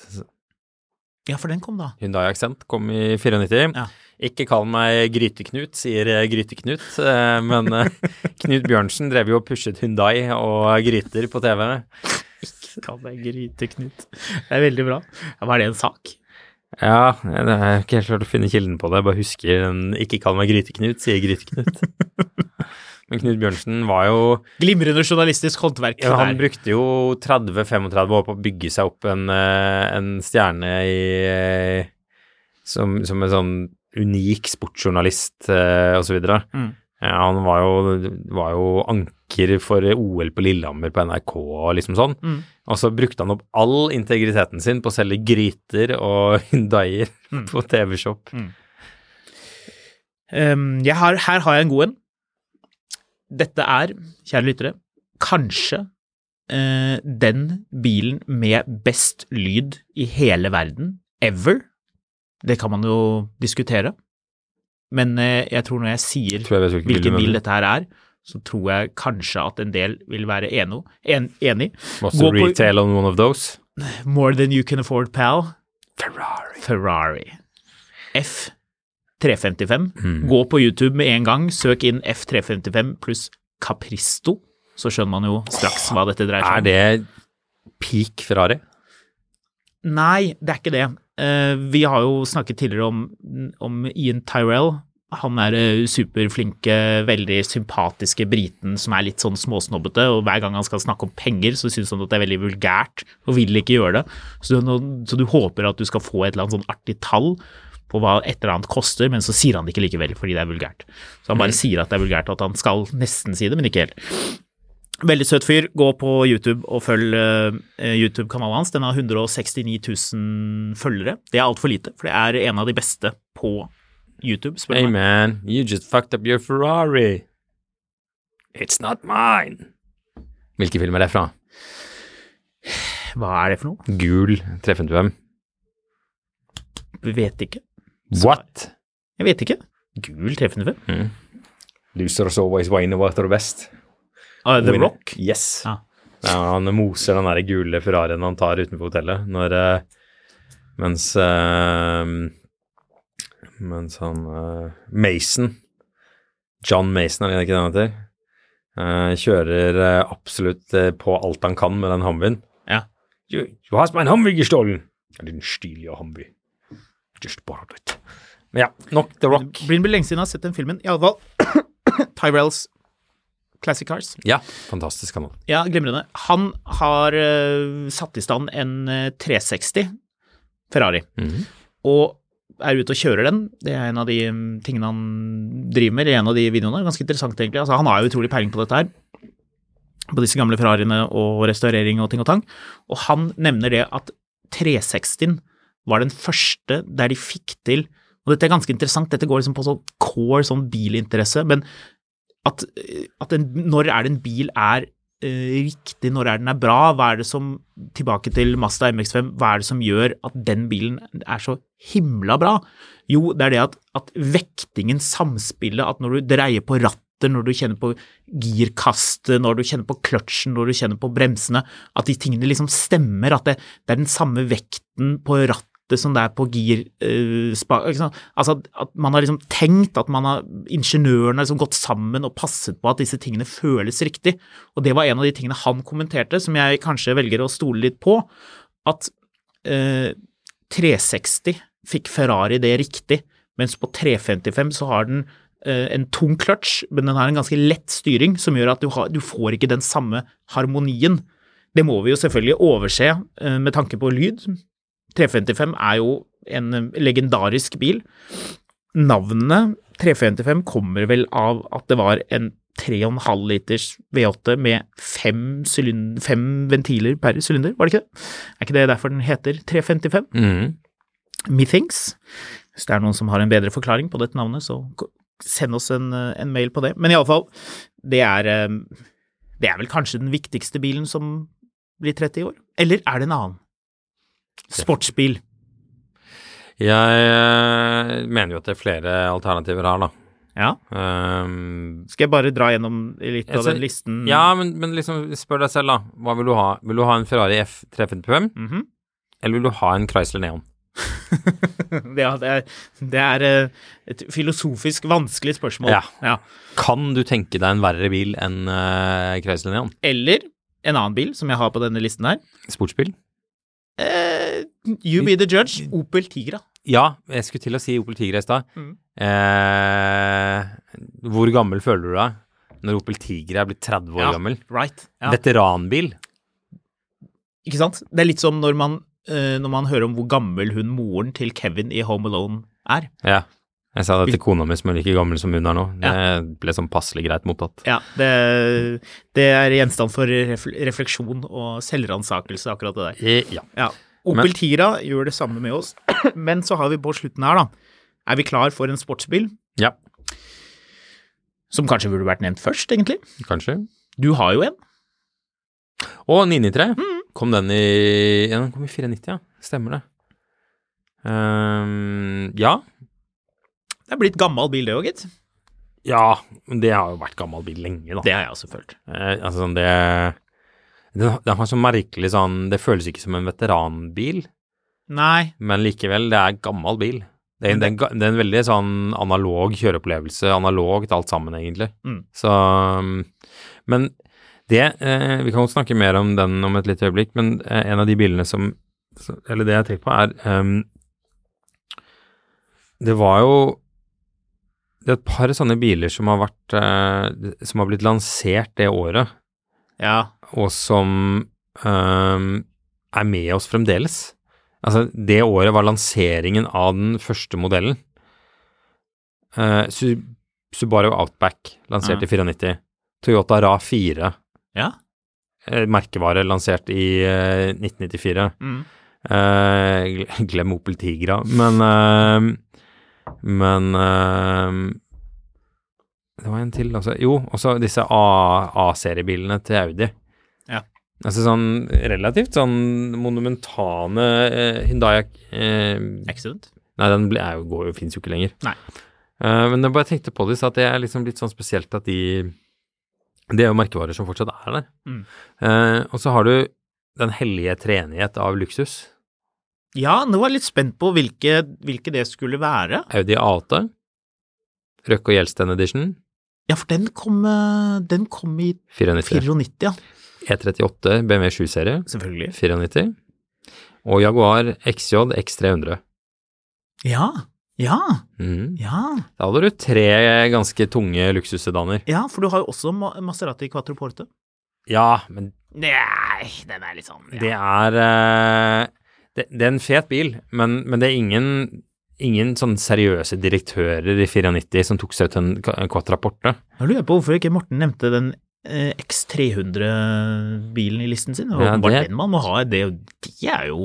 [SPEAKER 2] Ja, for den kom da.
[SPEAKER 1] Hyundai Accent kom i 94.
[SPEAKER 2] Ja.
[SPEAKER 1] Ikke kall meg Gryteknut, sier eh, Gryteknut, eh, men eh, (laughs) Knut Bjørnsen drev jo og pushet Hyundai og gryter på TV.
[SPEAKER 2] Kan jeg gryte, Knut? Det er veldig bra. Ja, Var det en sak?
[SPEAKER 1] Ja, det er ikke helt klart å finne kilden på det, jeg bare husker den Ikke kall meg Gryteknut, sier Gryteknut. Men Knut Bjørnsen var jo
[SPEAKER 2] Glimrende journalistisk håndverk.
[SPEAKER 1] ja, Han
[SPEAKER 2] der.
[SPEAKER 1] brukte jo 30-35 år på å bygge seg opp en, eh, en stjerne i eh, som, som en sånn unik sportsjournalist eh, og så videre.
[SPEAKER 2] Mm.
[SPEAKER 1] Ja, han var jo, var jo anker for OL på Lillehammer på NRK og liksom sånn.
[SPEAKER 2] Mm.
[SPEAKER 1] Og så brukte han opp all integriteten sin på å selge gryter og (laughs) hundaier
[SPEAKER 2] Mm.
[SPEAKER 1] på TV-shop.
[SPEAKER 2] Ehm, jeg har, her har jeg en god en. Dette er, kjære lyttere, kanskje eh, den bilen med best lyd i hele verden ever. Det kan man jo diskutere. Men eh, jeg tror når jeg sier
[SPEAKER 1] Tror jeg vet hvilken,
[SPEAKER 2] hvilken bil
[SPEAKER 1] bil
[SPEAKER 2] dette her er, så tror jeg kanskje at en del vil være eno, en, enig.
[SPEAKER 1] Måste
[SPEAKER 2] Gå på-
[SPEAKER 1] retail on one of those.
[SPEAKER 2] More than you can afford, pal.
[SPEAKER 1] Ferrari.
[SPEAKER 2] Ferrari. F355.
[SPEAKER 1] Mm.
[SPEAKER 2] Gå på YouTube med en gang, søk inn F355 pluss Capristo, så skjønner man jo straks hva dette dreier seg
[SPEAKER 1] Er
[SPEAKER 2] om.
[SPEAKER 1] det peak Ferrari?
[SPEAKER 2] Nei, det er ikke det. Eh, vi har jo snakket tidligere om, om Ian Tyrell. Han er eh, superflinke, veldig sympatiske briten som er litt sånn småsnobbete, og hver gang han skal snakke om penger, så syns han at det er veldig vulgært og vil ikke gjøre det. Så, du- nå- så du håper at du skal få et eller annet sånn artig tall på hva et eller annet koster, men så sier han det ikke likevel fordi det er vulgært. Så han bare sier at det er vulgært, og at han skal nesten si det, men ikke helt. Veldig søt fyr. Gå på YouTube og følg eh, YouTube-kanalen hans. Den har 169 000 følgere. Det er altfor lite, for det er en av de beste på YouTube. Spør
[SPEAKER 1] Hey
[SPEAKER 2] du meg.
[SPEAKER 1] man, you just fucked up your Ferrari. It's not mine. Hvilken film er det fra?
[SPEAKER 2] Hva er det for noe?
[SPEAKER 1] Gul treffende hvem?
[SPEAKER 2] Vet ikke.
[SPEAKER 1] What?
[SPEAKER 2] Jeg vet ikke. Gul treffende film.
[SPEAKER 1] Losers always win what are best.
[SPEAKER 2] Ah, The Rock.
[SPEAKER 1] Yes.
[SPEAKER 2] Ja.
[SPEAKER 1] Ja, han moser den der gule Ferrarien han tar utenfor hotellet, når, eh, mens eh, mens han eh, Mason, John Mason, er det ikke det han heter? Eh, kjører eh, absolutt eh, på alt han kan med den Humvien.
[SPEAKER 2] Ja.
[SPEAKER 1] You, you has my Humvee gestolen! Jeg didn't steal your Humvee. Just borrowed it. Men ja, nok The Rock.
[SPEAKER 2] Det blir lenge siden jeg har sett den filmen. I alle fall (coughs) Tyrells Classic Cars.
[SPEAKER 1] Ja, fantastisk kanal.
[SPEAKER 2] Ja, glimrende. Han har eh, satt i stand en eh, 360 Ferrari.
[SPEAKER 1] Mhm.
[SPEAKER 2] og er ute og kjører den. Det er en av de mm, tingene han driver med i en av de videoene. Ganske interessant, egentlig. Altså, han har jo utrolig peiling på dette her. På disse gamle Ferrariene og restaurering og ting og tang. Og han nevner det at 360-en var den første der de fikk til Og dette er ganske interessant, dette går liksom på sånn core sånn bilinteresse, men at, at en, når er det en bil er eh, riktig, når er den er bra, hva er det som Tilbake til Mazda MX5, hva er det som gjør at den bilen er så himla bra? Jo, det er det at, at vektingen, samspillet, at når du dreier på rattet, når du kjenner på girkastet, når du kjenner på kløtsjen, når du kjenner på bremsene, at de tingene liksom stemmer, at det, det er den samme vekten på rattet som det er på gir eh, spa, ikke sant? Altså at, at man har liksom tenkt, at man har, ingeniørene har liksom gått sammen og passet på at disse tingene føles riktig. Og det var en av de tingene han kommenterte, som jeg kanskje velger å stole litt på, at eh, 360 fikk Ferrari det riktig, mens på 355 så har den eh, en tung kløtsj, men den har en ganske lett styring som gjør at du, har, du får ikke den samme harmonien. Det må vi jo selvfølgelig overse eh, med tanke på lyd. 355 er jo en eh, legendarisk bil. Navnet 355 kommer vel av at det var en 3,5 liters V8 med fem, sylin- fem ventiler per sylinder, var det ikke det? Er ikke det derfor den heter 355?
[SPEAKER 1] Mhm.
[SPEAKER 2] methinks. Hvis det er noen som har en bedre forklaring på dette navnet, så k- send oss en, eh, en mail på det. Men iallfall, det er eh, Det er vel kanskje den viktigste bilen som blir 30 i år? Eller er det en annen? Sportsbil.
[SPEAKER 1] Jeg eh, mener jo at det er flere alternativer her, da.
[SPEAKER 2] Ja.
[SPEAKER 1] Ehm,
[SPEAKER 2] Skal jeg bare dra gjennom litt av
[SPEAKER 1] Altså,
[SPEAKER 2] den listen?
[SPEAKER 1] ja, men, men liksom spør deg selv, da. Hva vil du ha? Vil du ha en Ferrari F355,
[SPEAKER 2] Mhm. (laughs)
[SPEAKER 1] eller vil du ha en Chrysler Neon?
[SPEAKER 2] det, er- det er, det er eh, et filosofisk vanskelig spørsmål.
[SPEAKER 1] Ja.
[SPEAKER 2] ja.
[SPEAKER 1] Kan du tenke deg en verre bil enn eh, Chrysler Neon?
[SPEAKER 2] Eller en annen bil som jeg har på denne listen her.
[SPEAKER 1] Sportsbil?
[SPEAKER 2] Eh, you be the judge. Opel Tigra.
[SPEAKER 1] Ja, jeg skulle til å si Opel Tigra i stad.
[SPEAKER 2] Mhm.
[SPEAKER 1] Eh, hvor gammel føler du deg når Opel Tigra er blitt 30 år
[SPEAKER 2] Ja.
[SPEAKER 1] gammel?
[SPEAKER 2] Right. Ja.
[SPEAKER 1] Veteranbil?
[SPEAKER 2] Ikke sant? Det er litt som når man, eh, når man hører om hvor gammel hun moren til Kevin i Home Alone er.
[SPEAKER 1] Ja. Jeg sa det til kona mi som er like gammel som hun er nå. Det ble sånn passelig greit mottatt.
[SPEAKER 2] Ja, det, det er gjenstand for ref- refleksjon og selvransakelse, akkurat det der.
[SPEAKER 1] Eh, ja.
[SPEAKER 2] Ja. Opel Tira gjør det samme med oss, (clears throat) men så har vi på slutten her, da. Er vi klar for en sportsbil?
[SPEAKER 1] ja.
[SPEAKER 2] Som kanskje burde vært nevnt først, egentlig.
[SPEAKER 1] Kanskje.
[SPEAKER 2] Du har jo en.
[SPEAKER 1] Og 993. Kom den i Ja, den kom i 94, ja. Stemmer det. Ehm, ja.
[SPEAKER 2] Det er blitt gammel bil, det òg, gitt.
[SPEAKER 1] Ja, men det har jo vært gammel bil lenge, da.
[SPEAKER 2] Det har jeg også følt.
[SPEAKER 1] Eh, altså, sånn, det den, den har sånn merkelig sånn Det føles ikke som en veteranbil,
[SPEAKER 2] Nei.
[SPEAKER 1] men likevel, det er gammel bil. Det er, det er, en ga- det er en veldig sånn analog kjøreopplevelse, analogt alt sammen, egentlig.
[SPEAKER 2] Mm.
[SPEAKER 1] Så um, Men det eh, Vi kan godt snakke mer om den om et lite øyeblikk, men eh, en av de bilene som så- Eller det jeg tenker på, er um, Det var jo Det er et par sånne biler som har vært eh, Som har blitt lansert det året,
[SPEAKER 2] Ja.
[SPEAKER 1] og som um, er med oss fremdeles. Altså, det året var lanseringen av den første modellen. Eh, Su- Subaru Outback, lansert
[SPEAKER 2] Ja.
[SPEAKER 1] i 94. Toyota Ra 4,
[SPEAKER 2] Ja.
[SPEAKER 1] eh, merkevare lansert i eh, 1994.
[SPEAKER 2] Mm.
[SPEAKER 1] Eh, gle- (laughs) glem Opel Tigra, men eh, Men eh, Det var en til, altså. Jo, også disse A- A-seriebilene til Audi.
[SPEAKER 2] Ja.
[SPEAKER 1] Altså sånn relativt sånn monumentane eh, Hyundai eh,
[SPEAKER 2] Accident.
[SPEAKER 1] Nei, den ble, er jo, går jo, fins jo ikke lenger.
[SPEAKER 2] Nei.
[SPEAKER 1] Eh, men jeg bare tenkte på det, så at det er liksom litt sånn spesielt at de Det er jo merkevarer som fortsatt er der.
[SPEAKER 2] Mm.
[SPEAKER 1] Eh, og så har du den hellige treenighet av luksus.
[SPEAKER 2] Ja, nå var jeg litt spent på hvilke, hvilke det skulle være.
[SPEAKER 1] Audi A8. Røkke og Gjelsten Edition.
[SPEAKER 2] Ja, for den kom, eh, den kom i
[SPEAKER 1] 94.
[SPEAKER 2] 94, ja.
[SPEAKER 1] E E38 BMW 7-serie.
[SPEAKER 2] Selvfølgelig.
[SPEAKER 1] 94. Og Jaguar XJ X300.
[SPEAKER 2] Ja. Ja.
[SPEAKER 1] Mhm.
[SPEAKER 2] Ja.
[SPEAKER 1] Da hadde du tre ganske tunge luksussedaner.
[SPEAKER 2] ja, for du har jo også Ma- Maserati Quattroporte.
[SPEAKER 1] Ja, men
[SPEAKER 2] Nei, den er litt sånn ja.
[SPEAKER 1] det er eh, det, det er en fet bil, men, men det er ingen, ingen sånn seriøse direktører i 94 som tok seg ut en, en Quattraporte.
[SPEAKER 2] Nå lurer jeg på hvorfor ikke Morten nevnte den eh, X300-bilen i listen sin.
[SPEAKER 1] Ja,
[SPEAKER 2] Ja, det...
[SPEAKER 1] det-
[SPEAKER 2] Den man må ha, det, er jo- de er jo,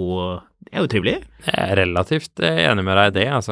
[SPEAKER 2] det er jo trivelig.
[SPEAKER 1] Jeg er relativt eh, enig med deg i det, altså.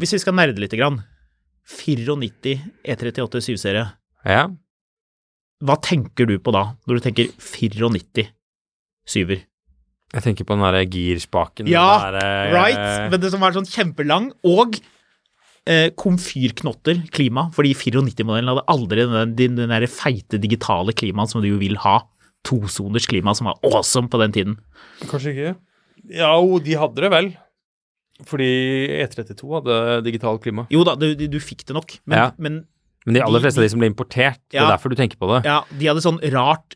[SPEAKER 2] Hvis vi skal nerde litt, grann, 94 E38 7-serie,
[SPEAKER 1] Ja.
[SPEAKER 2] E hva tenker du på da, når du tenker 94 7-er?
[SPEAKER 1] Jeg tenker på den derre girspaken. eh,
[SPEAKER 2] Ja, eh,
[SPEAKER 1] den derre-
[SPEAKER 2] Right? Men det som var sånn kjempelang, og eh, komfyrknotter, klima, fordi 94-modellen hadde aldri den, den, den der feite digitale klimaen som du jo vil ha. Tosoners klima som var awesome på den tiden.
[SPEAKER 1] Kanskje ikke. Ja, jo, de hadde det vel. Fordi E32 hadde digital klima.
[SPEAKER 2] Jo da, du, du fikk det nok, men,
[SPEAKER 1] Ja.
[SPEAKER 2] men
[SPEAKER 1] Men de aller fleste av de som ble importert, det
[SPEAKER 2] Ja.
[SPEAKER 1] er derfor du tenker på det.
[SPEAKER 2] ja, de hadde sånn rart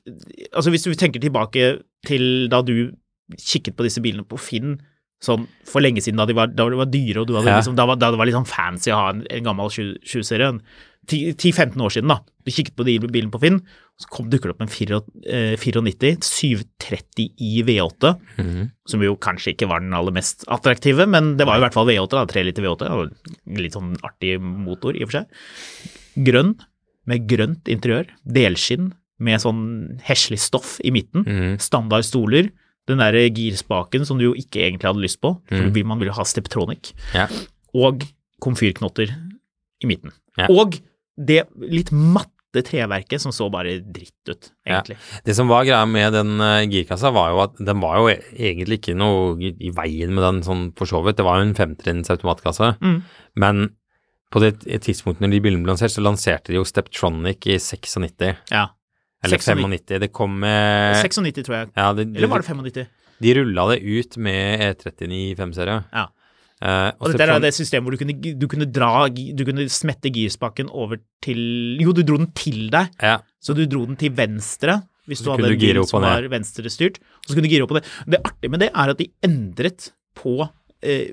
[SPEAKER 2] Altså hvis du tenker tilbake til da du kikket på disse bilene på Finn sånn for lenge siden, da de var, da de var dyre, og du hadde
[SPEAKER 1] Ja.
[SPEAKER 2] liksom, da, var, da det var litt sånn fancy å ha en, en gammel 7-serie, 10-15 år siden, da. Du kikket på de bilene på Finn, så kom, dukker det opp en 94, eh, 94 730 i V8,
[SPEAKER 1] Mhm,
[SPEAKER 2] som jo kanskje ikke var den aller mest attraktive, men det var jo i hvert fall V8, da, 3 liter V8, og litt sånn artig motor i og for seg. Grønn, med grønt interiør, delskinn med sånn heslig stoff i midten,
[SPEAKER 1] Mm. mhm.
[SPEAKER 2] standard stoler, den der girspaken som du jo ikke egentlig hadde lyst på, for du- man ville ha Steptronic,
[SPEAKER 1] Mm. Ja.
[SPEAKER 2] og komfyrknotter i midten.
[SPEAKER 1] Ja.
[SPEAKER 2] Og det litt matte treverket som så bare dritt ut,
[SPEAKER 1] Ja.
[SPEAKER 2] egentlig.
[SPEAKER 1] Det som var greia med den eh, girkassa, var jo at den var jo e- egentlig ikke noe i i veien med den sånn for så vidt. Det var jo en femtrinns automatkasse.
[SPEAKER 2] Mm.
[SPEAKER 1] Men på det t- tidspunktet når de bilene ble lansert, så lanserte de jo Steptronic i 96.
[SPEAKER 2] Ja.
[SPEAKER 1] Eller
[SPEAKER 2] 96.
[SPEAKER 1] 95. Det kom med
[SPEAKER 2] 96, tror jeg.
[SPEAKER 1] ja, det,
[SPEAKER 2] Eller var det 95?
[SPEAKER 1] De rulla det ut med E39 5-serie.
[SPEAKER 2] Ja.
[SPEAKER 1] Eh,
[SPEAKER 2] Og dette er da
[SPEAKER 1] Steptron-
[SPEAKER 2] det systemet hvor du kunne, du kunne dra gi- Du kunne smette girspaken over til Jo, du dro den til deg,
[SPEAKER 1] Ja,
[SPEAKER 2] så du dro den til venstre. Hvis
[SPEAKER 1] Så
[SPEAKER 2] du
[SPEAKER 1] kunne
[SPEAKER 2] hadde en
[SPEAKER 1] du gire
[SPEAKER 2] bil
[SPEAKER 1] opp
[SPEAKER 2] som
[SPEAKER 1] og ned.
[SPEAKER 2] var venstrestyrt. og Så kunne du gire opp og ned. Det artige med det er at de endret på eh,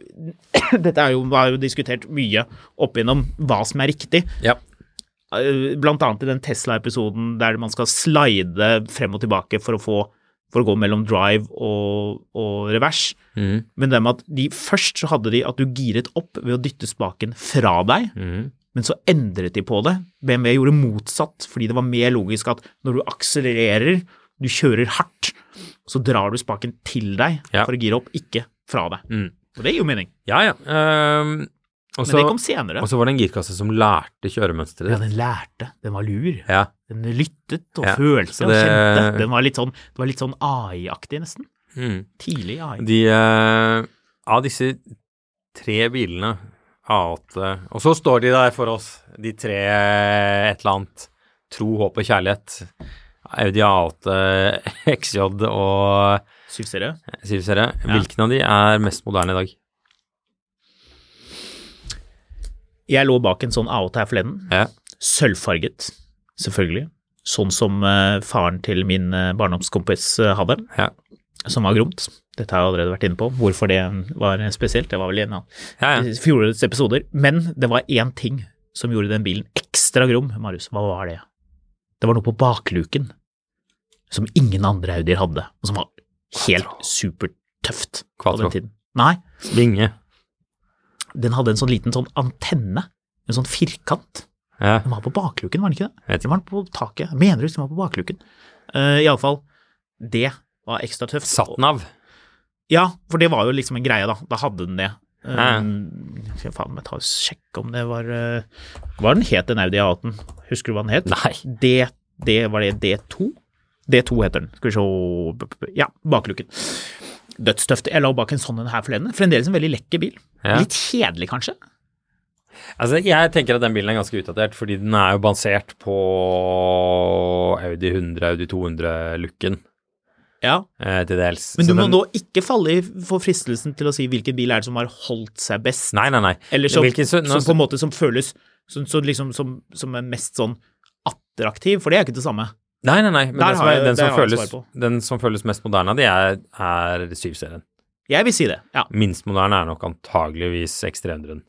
[SPEAKER 2] (clears throat) Dette er jo, var jo diskutert mye opp igjennom hva som er riktig.
[SPEAKER 1] ja.
[SPEAKER 2] Eh, Blant annet i den Tesla-episoden der man skal slide frem og tilbake for å få for å gå mellom drive og, og revers.
[SPEAKER 1] Mhm.
[SPEAKER 2] Men det med at de først så hadde de at du giret opp ved å dytte spaken fra deg,
[SPEAKER 1] Mhm.
[SPEAKER 2] men så endret de på det. BMW gjorde motsatt, fordi det var mer logisk at når du akselererer, du kjører hardt, så drar du spaken til deg
[SPEAKER 1] Ja.
[SPEAKER 2] for å gire opp, ikke fra deg.
[SPEAKER 1] Mm.
[SPEAKER 2] Og det gir jo mening.
[SPEAKER 1] Ja, ja. Ehm, og
[SPEAKER 2] Men
[SPEAKER 1] så-
[SPEAKER 2] det kom senere.
[SPEAKER 1] og så var det en girkasse som lærte kjøremønsteret
[SPEAKER 2] Ja,
[SPEAKER 1] ditt.
[SPEAKER 2] den lærte. Den var lur.
[SPEAKER 1] Ja.
[SPEAKER 2] Den lyttet og
[SPEAKER 1] Ja, så
[SPEAKER 2] følte og
[SPEAKER 1] det-
[SPEAKER 2] kjente. Den var litt sånn, det var litt sånn AI-aktig, nesten. Mm.
[SPEAKER 1] Mhm.
[SPEAKER 2] Tidlig AI.
[SPEAKER 1] De eh, Av disse tre bilene, A8 Og så står de der for oss, de tre eh, et eller annet. Tro, håp og kjærlighet. Audi A8, (laughs) XJ og
[SPEAKER 2] Syv serie.
[SPEAKER 1] 7-serie. Hvilken av de er mest moderne i dag?
[SPEAKER 2] Jeg lå bak en sånn A8 her forleden.
[SPEAKER 1] Ja.
[SPEAKER 2] Sølvfarget, selvfølgelig. Sånn som eh, faren til min eh, barndomskompis eh, hadde,
[SPEAKER 1] Ja.
[SPEAKER 2] som var gromt. Dette har jeg allerede vært inne på, hvorfor det var eh, spesielt. Det var vel i en av
[SPEAKER 1] Ja, ja.
[SPEAKER 2] fjorårets episoder. Men det var én ting som gjorde den bilen ekstra grom, Marius. Hva var det? Det var noe på bakluken som ingen andre Audier hadde, og som var helt supertøft på
[SPEAKER 1] Quattro.
[SPEAKER 2] den tiden. Nei,
[SPEAKER 1] Vinge.
[SPEAKER 2] den hadde en sånn liten sånn antenne, en sånn firkant.
[SPEAKER 1] Ja.
[SPEAKER 2] Den var på bakluken, var den ikke det?
[SPEAKER 1] Vet
[SPEAKER 2] Den var på taket. Jeg Mener du den var på bakluken? Uh, Iallfall, det var ekstra tøft.
[SPEAKER 1] Satt den av?
[SPEAKER 2] Ja, for det var jo liksom en greie, da. Da hadde den det. Eh,
[SPEAKER 1] Ja.
[SPEAKER 2] skal jeg faen meg ta og sjekke om det var eh, Hva den het den Audi A18? Husker du hva den het?
[SPEAKER 1] Nei.
[SPEAKER 2] D, D, var det D2? D2 heter den. Skal vi se Ja, bakluken. Dødstøft. Jeg la bak en sånn en her forleden. Fremdeles en veldig lekker bil.
[SPEAKER 1] Ja.
[SPEAKER 2] Litt kjedelig, kanskje.
[SPEAKER 1] Altså, jeg tenker at den bilen er ganske utdatert, fordi den er jo basert på Audi 100, Audi 200-looken
[SPEAKER 2] Ja,
[SPEAKER 1] eh, til dels.
[SPEAKER 2] Men du
[SPEAKER 1] Så
[SPEAKER 2] må
[SPEAKER 1] den-
[SPEAKER 2] nå ikke falle i- for fristelsen til å si hvilken bil er det som har holdt seg best,
[SPEAKER 1] Nei, nei, nei.
[SPEAKER 2] eller som,
[SPEAKER 1] Hvilken sø- nå-
[SPEAKER 2] sånn som på en måte som føles som, som, liksom, som, som er mest sånn attraktiv, for det er ikke det samme.
[SPEAKER 1] Nei, nei, nei. Men
[SPEAKER 2] Der
[SPEAKER 1] den som,
[SPEAKER 2] har
[SPEAKER 1] er,
[SPEAKER 2] jeg-
[SPEAKER 1] den,
[SPEAKER 2] der
[SPEAKER 1] som
[SPEAKER 2] har jeg
[SPEAKER 1] føles,
[SPEAKER 2] svar på.
[SPEAKER 1] den som føles mest moderne av de, er, er 7-serien.
[SPEAKER 2] Jeg vil si det. Ja,
[SPEAKER 1] Minst moderne er nok antageligvis X300-en.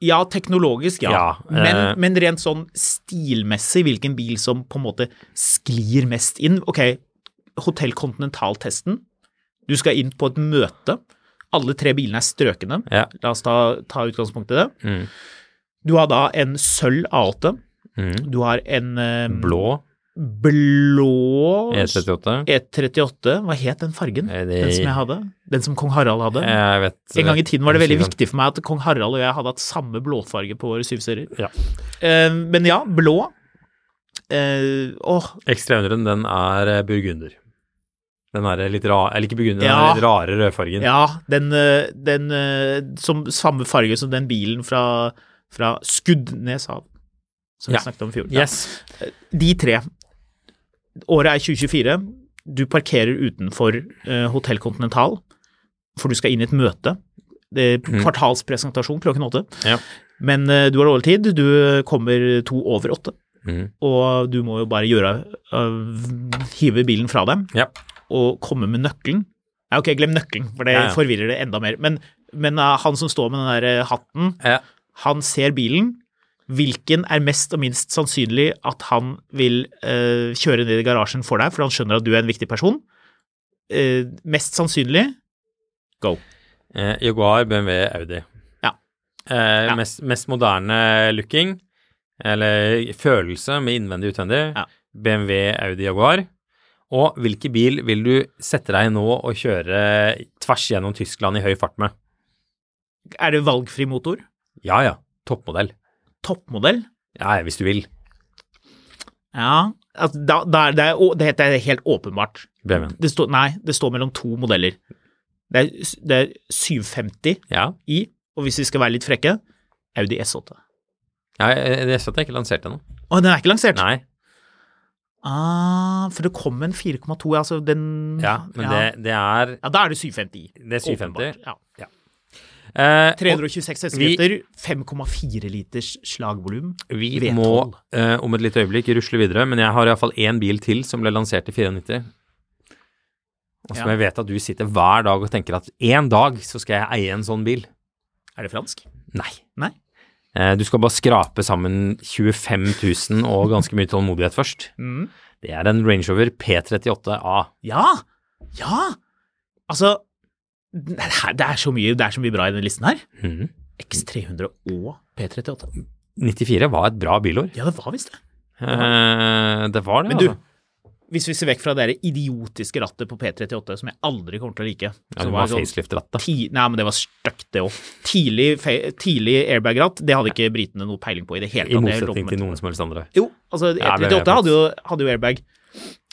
[SPEAKER 2] ja teknologisk, ja.
[SPEAKER 1] Ja, eh.
[SPEAKER 2] men, men rent sånn stilmessig, hvilken bil som på en måte sklir mest inn. Ok, Hotell Continental-testen. Du skal inn på et møte. Alle tre bilene er strøkne.
[SPEAKER 1] Ja.
[SPEAKER 2] La oss ta, ta utgangspunkt i det.
[SPEAKER 1] Mm.
[SPEAKER 2] Du har da en sølv A8.
[SPEAKER 1] Mm.
[SPEAKER 2] Du har en eh,
[SPEAKER 1] Blå E
[SPEAKER 2] blå
[SPEAKER 1] E38.
[SPEAKER 2] E38. Hva het den fargen?
[SPEAKER 1] Eh, det-
[SPEAKER 2] Den som jeg hadde? Den som kong Harald hadde?
[SPEAKER 1] Eh, Jeg vet
[SPEAKER 2] en gang i tiden var det veldig
[SPEAKER 1] Syveren.
[SPEAKER 2] viktig for meg at kong Harald og jeg hadde hatt samme blåfarge på våre syvserier.
[SPEAKER 1] Ja.
[SPEAKER 2] Eh, men ja, blå. Eh, åh,
[SPEAKER 1] X300-en, den er eh, burgunder. Den er eh, litt rar Eller ikke burgunder, den
[SPEAKER 2] Ja.
[SPEAKER 1] er litt rare rødfargen.
[SPEAKER 2] ja, den, eh, den eh, som, samme farge som den bilen fra, fra Skuddneshav, som vi
[SPEAKER 1] Ja.
[SPEAKER 2] snakket om i fjor. Ja.
[SPEAKER 1] Yes.
[SPEAKER 2] De tre. Året er 2024. Du parkerer utenfor uh, Hotell Continental, for du skal inn i et møte. Det er
[SPEAKER 1] Mm.
[SPEAKER 2] kvartalspresentasjon klokken åtte.
[SPEAKER 1] Ja.
[SPEAKER 2] Men eh, du har dårlig tid. Du kommer to over åtte,
[SPEAKER 1] Mm.
[SPEAKER 2] og du må jo bare gjøre eh, Hive bilen fra deg
[SPEAKER 1] Ja.
[SPEAKER 2] og komme med nøkkelen. Nei, ok, glem nøkkelen, for det
[SPEAKER 1] Ja, ja.
[SPEAKER 2] forvirrer det enda mer. Men, men eh, han som står med den der eh, hatten,
[SPEAKER 1] Ja.
[SPEAKER 2] han ser bilen. Hvilken er mest og minst sannsynlig at han vil eh, kjøre ned i garasjen for deg, for han skjønner at du er en viktig person? Eh, mest sannsynlig go.
[SPEAKER 1] Eh, Jaguar, BMW, Audi.
[SPEAKER 2] Ja.
[SPEAKER 1] Eh,
[SPEAKER 2] Ja.
[SPEAKER 1] Mest, mest moderne looking, eller følelse med innvendig og utvendig,
[SPEAKER 2] Ja.
[SPEAKER 1] BMW, Audi, Jaguar. Og hvilken bil vil du sette deg i nå og kjøre tvers gjennom Tyskland i høy fart med?
[SPEAKER 2] Er det valgfri motor?
[SPEAKER 1] Ja ja, toppmodell.
[SPEAKER 2] Toppmodell?
[SPEAKER 1] Ja, ja, hvis du vil.
[SPEAKER 2] Ja. Altså, da, da er det, å, det er helt åpenbart.
[SPEAKER 1] BMW-en.
[SPEAKER 2] Det står, nei, det står mellom to modeller. Det er, det er 750
[SPEAKER 1] Ja.
[SPEAKER 2] i, og hvis vi skal være litt frekke, Audi S8.
[SPEAKER 1] ja eh, jeg- jeg så sånn at jeg ikke lanserte ennå.
[SPEAKER 2] Å, den er ikke lansert?
[SPEAKER 1] Nei.
[SPEAKER 2] Ah, for det kom en 4,2, altså den
[SPEAKER 1] Ja, men Det, det er
[SPEAKER 2] Ja, da er det 750 i.
[SPEAKER 1] Det er 750.
[SPEAKER 2] Åpenbart, Ja.
[SPEAKER 1] eh,
[SPEAKER 2] 326 hestekrefter, 5,4 liters slagvolum.
[SPEAKER 1] og Vi
[SPEAKER 2] V12.
[SPEAKER 1] må eh, om et lite øyeblikk rusle videre, men jeg har iallfall én bil til som ble lansert i 94. Og som
[SPEAKER 2] Ja.
[SPEAKER 1] jeg vet at du sitter hver dag og tenker at en dag så skal jeg eie en sånn bil.
[SPEAKER 2] Er det fransk?
[SPEAKER 1] Nei.
[SPEAKER 2] Nei.
[SPEAKER 1] Eh, du skal bare skrape sammen 25 000 og ganske mye tålmodighet først.
[SPEAKER 2] Mm.
[SPEAKER 1] Det er en Range Rover P38A.
[SPEAKER 2] Ja! Ja! Altså det er, det, er så mye, det er så mye bra i den listen her.
[SPEAKER 1] Mhm.
[SPEAKER 2] X300 og P38.
[SPEAKER 1] 94 var et bra bilår.
[SPEAKER 2] Ja, det var visst det.
[SPEAKER 1] Eh, det var det,
[SPEAKER 2] Men du,
[SPEAKER 1] altså.
[SPEAKER 2] hvis vi ser vekk fra det der idiotiske rattet på P38, som jeg aldri kommer til å like
[SPEAKER 1] Ja,
[SPEAKER 2] som
[SPEAKER 1] det var
[SPEAKER 2] sånn-
[SPEAKER 1] facelift-rattet.
[SPEAKER 2] ti, Nei, men det var stygt, det òg. Tidlig, fe- tidlig airbag-ratt, det hadde ikke britene noe peiling på i det hele tatt.
[SPEAKER 1] I
[SPEAKER 2] Jeg lover
[SPEAKER 1] motsetning
[SPEAKER 2] meg
[SPEAKER 1] til noen som helst andre.
[SPEAKER 2] Jo, altså
[SPEAKER 1] Ja, det er jeg
[SPEAKER 2] E38 hadde, jo, hadde jo airbag.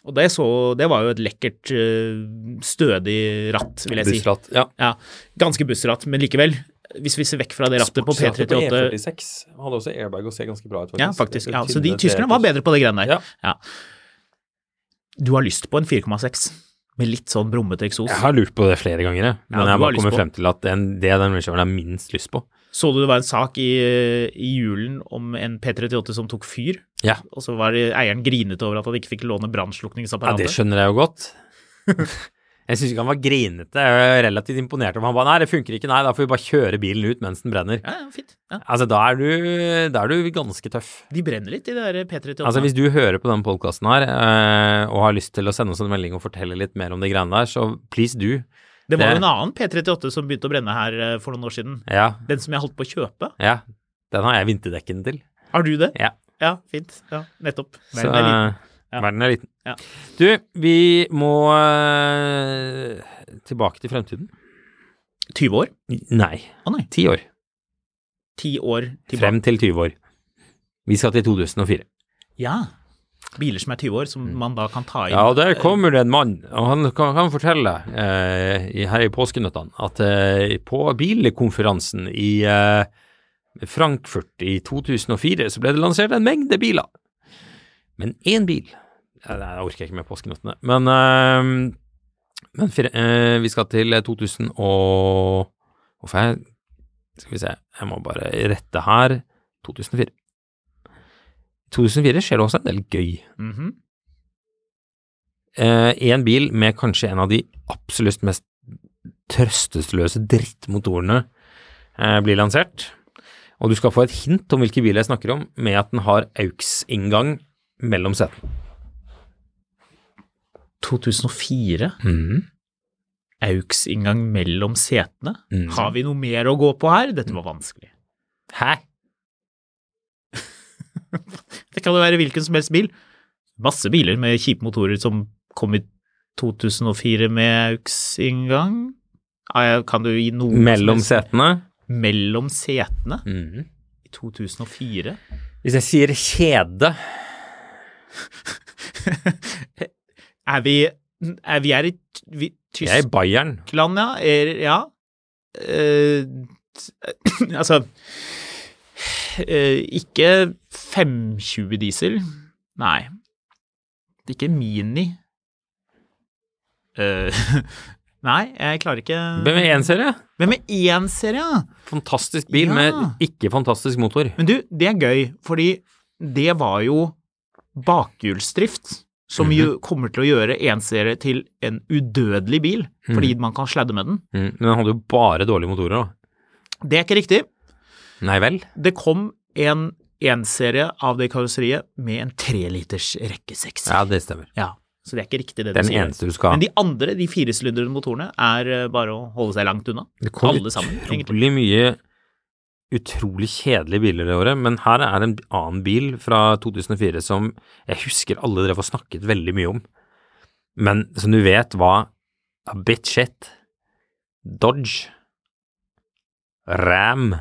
[SPEAKER 2] Og det, så, det var jo et lekkert, eh, stødig ratt, vil jeg si.
[SPEAKER 1] Bussratt. Ja.
[SPEAKER 2] Ja, Ganske bussratt, men likevel. Hvis vi ser vekk fra det rattet på P38
[SPEAKER 1] E46 hadde også airbag og ser ganske bra ut,
[SPEAKER 2] Ja, faktisk. Ja, så de tyskerne var bedre på det greiene der.
[SPEAKER 1] Ja.
[SPEAKER 2] Ja. Du har lyst på en 4,6 med litt sånn brummete eksos.
[SPEAKER 1] Jeg har lurt på det flere ganger, jeg. men jeg
[SPEAKER 2] Ja, du
[SPEAKER 1] har
[SPEAKER 2] har
[SPEAKER 1] bare
[SPEAKER 2] lyst
[SPEAKER 1] kommet
[SPEAKER 2] på.
[SPEAKER 1] frem til at den, det er den rangeroveren jeg har minst lyst på.
[SPEAKER 2] Så du det var en sak i, i julen om en P38 som tok fyr?
[SPEAKER 1] Ja,
[SPEAKER 2] Og så var det- eieren grinet over at han ikke fikk låne
[SPEAKER 1] ja det
[SPEAKER 2] brannslukningsapparatet.
[SPEAKER 1] skjønner jeg jo
[SPEAKER 2] (laughs)
[SPEAKER 1] godt. Jeg syns ikke han var grinete. Jeg er imponert imponert over han bare Nei, det funker ikke. Nei, da får vi bare kjøre bilen ut mens den brenner.
[SPEAKER 2] Ja, ja, fint. Ja.
[SPEAKER 1] Altså, da er du, da er du ganske tøff.
[SPEAKER 2] De brenner litt, de der P38.
[SPEAKER 1] Altså, hvis du hører på denne podkasten her eh, og har lyst til å sende oss en melding og fortelle litt mer om de greiene der, så please do.
[SPEAKER 2] det var
[SPEAKER 1] det-
[SPEAKER 2] jo en annen P38 som begynte å brenne her eh, for noen år siden.
[SPEAKER 1] Ja,
[SPEAKER 2] Den som jeg holdt på å kjøpe.
[SPEAKER 1] ja. Den har jeg vinterdekken til.
[SPEAKER 2] Har du det?
[SPEAKER 1] Ja.
[SPEAKER 2] Ja, fint. Ja, nettopp.
[SPEAKER 1] Så eh,
[SPEAKER 2] Verden er liten. Ja.
[SPEAKER 1] verden er liten.
[SPEAKER 2] Ja.
[SPEAKER 1] Du, vi må eh, tilbake til fremtiden.
[SPEAKER 2] 20 år?
[SPEAKER 1] Nei,
[SPEAKER 2] Å nei.
[SPEAKER 1] ti år.
[SPEAKER 2] 10 år tilbake.
[SPEAKER 1] Frem til 20 år. Vi skal til 2004.
[SPEAKER 2] Ja. Biler som er 20 år, som man da kan ta inn.
[SPEAKER 1] Mm. Ja, og der kommer det en mann, og han kan, kan fortelle eh, i- her i påskenøttene at eh, på bilkonferansen i eh, Frankfurt i 2004 så ble det lansert en mengde biler. Men én bil ja, Nei, jeg orker ikke med påskenøttene. Men, eh, men fire- eh, vi skal til 2000 og Hvorfor jeg Skal vi se, jeg må bare rette her. 2004. 2004 skjer det også en del gøy
[SPEAKER 2] Mhm.
[SPEAKER 1] én Eh, bil med kanskje en av de absolutt mest trøstesløse drittmotorene eh, blir lansert. Og du skal få et hint om hvilke biler jeg snakker om, med at den har AUX-inngang mellom setene.
[SPEAKER 2] 2004. AUX-inngang mellom setene.
[SPEAKER 1] Mm.
[SPEAKER 2] Har vi noe mer å gå på her? Dette var vanskelig.
[SPEAKER 1] Hæ?
[SPEAKER 2] (laughs) Det kan jo være hvilken som helst bil. Masse biler med kjipe motorer som kom i 2004 med AUX-inngang. Ja, jeg- Kan du gi noe som
[SPEAKER 1] Mellom
[SPEAKER 2] helst-
[SPEAKER 1] setene?
[SPEAKER 2] Mellom setene
[SPEAKER 1] Mm.
[SPEAKER 2] i 2004?
[SPEAKER 1] (laughs) Hvis jeg sier kjede
[SPEAKER 2] Er vi, er vi er i t- vi,
[SPEAKER 1] Jeg er i
[SPEAKER 2] Tyskland,
[SPEAKER 1] Bayern.
[SPEAKER 2] ja? Er, ja. Eh, t- (clears throat) altså eh, Ikke 520 diesel. Nei. Ikke Mini. Eh, (laughs) nei, jeg klarer ikke
[SPEAKER 1] BM1-serie.
[SPEAKER 2] Men med én serie, ja.
[SPEAKER 1] Fantastisk bil
[SPEAKER 2] Ja.
[SPEAKER 1] med ikke fantastisk motor.
[SPEAKER 2] Men du, det er gøy, fordi det var jo bakhjulsdrift som jo kommer til å gjøre en serie til en udødelig bil, fordi man kan sladde med den.
[SPEAKER 1] Mm. Men den hadde jo bare dårlige motorer, da.
[SPEAKER 2] Det er ikke riktig.
[SPEAKER 1] Nei vel?
[SPEAKER 2] Det kom en enserie av det karosseriet med en treliters rekkesekser.
[SPEAKER 1] Ja, det stemmer.
[SPEAKER 2] Ja, så det er ikke riktig det
[SPEAKER 1] Det er
[SPEAKER 2] du
[SPEAKER 1] den
[SPEAKER 2] sier.
[SPEAKER 1] eneste du skal ha.
[SPEAKER 2] Men de andre, de firesylindrede motorene, er eh, bare å holde seg langt unna.
[SPEAKER 1] Det kom
[SPEAKER 2] Alle sammen, egentlig.
[SPEAKER 1] utrolig mye utrolig kjedelige biler det året, men her er en annen bil fra 2004 som jeg husker alle drev og snakket veldig mye om, men som du vet var a bit shit. Dodge. Ram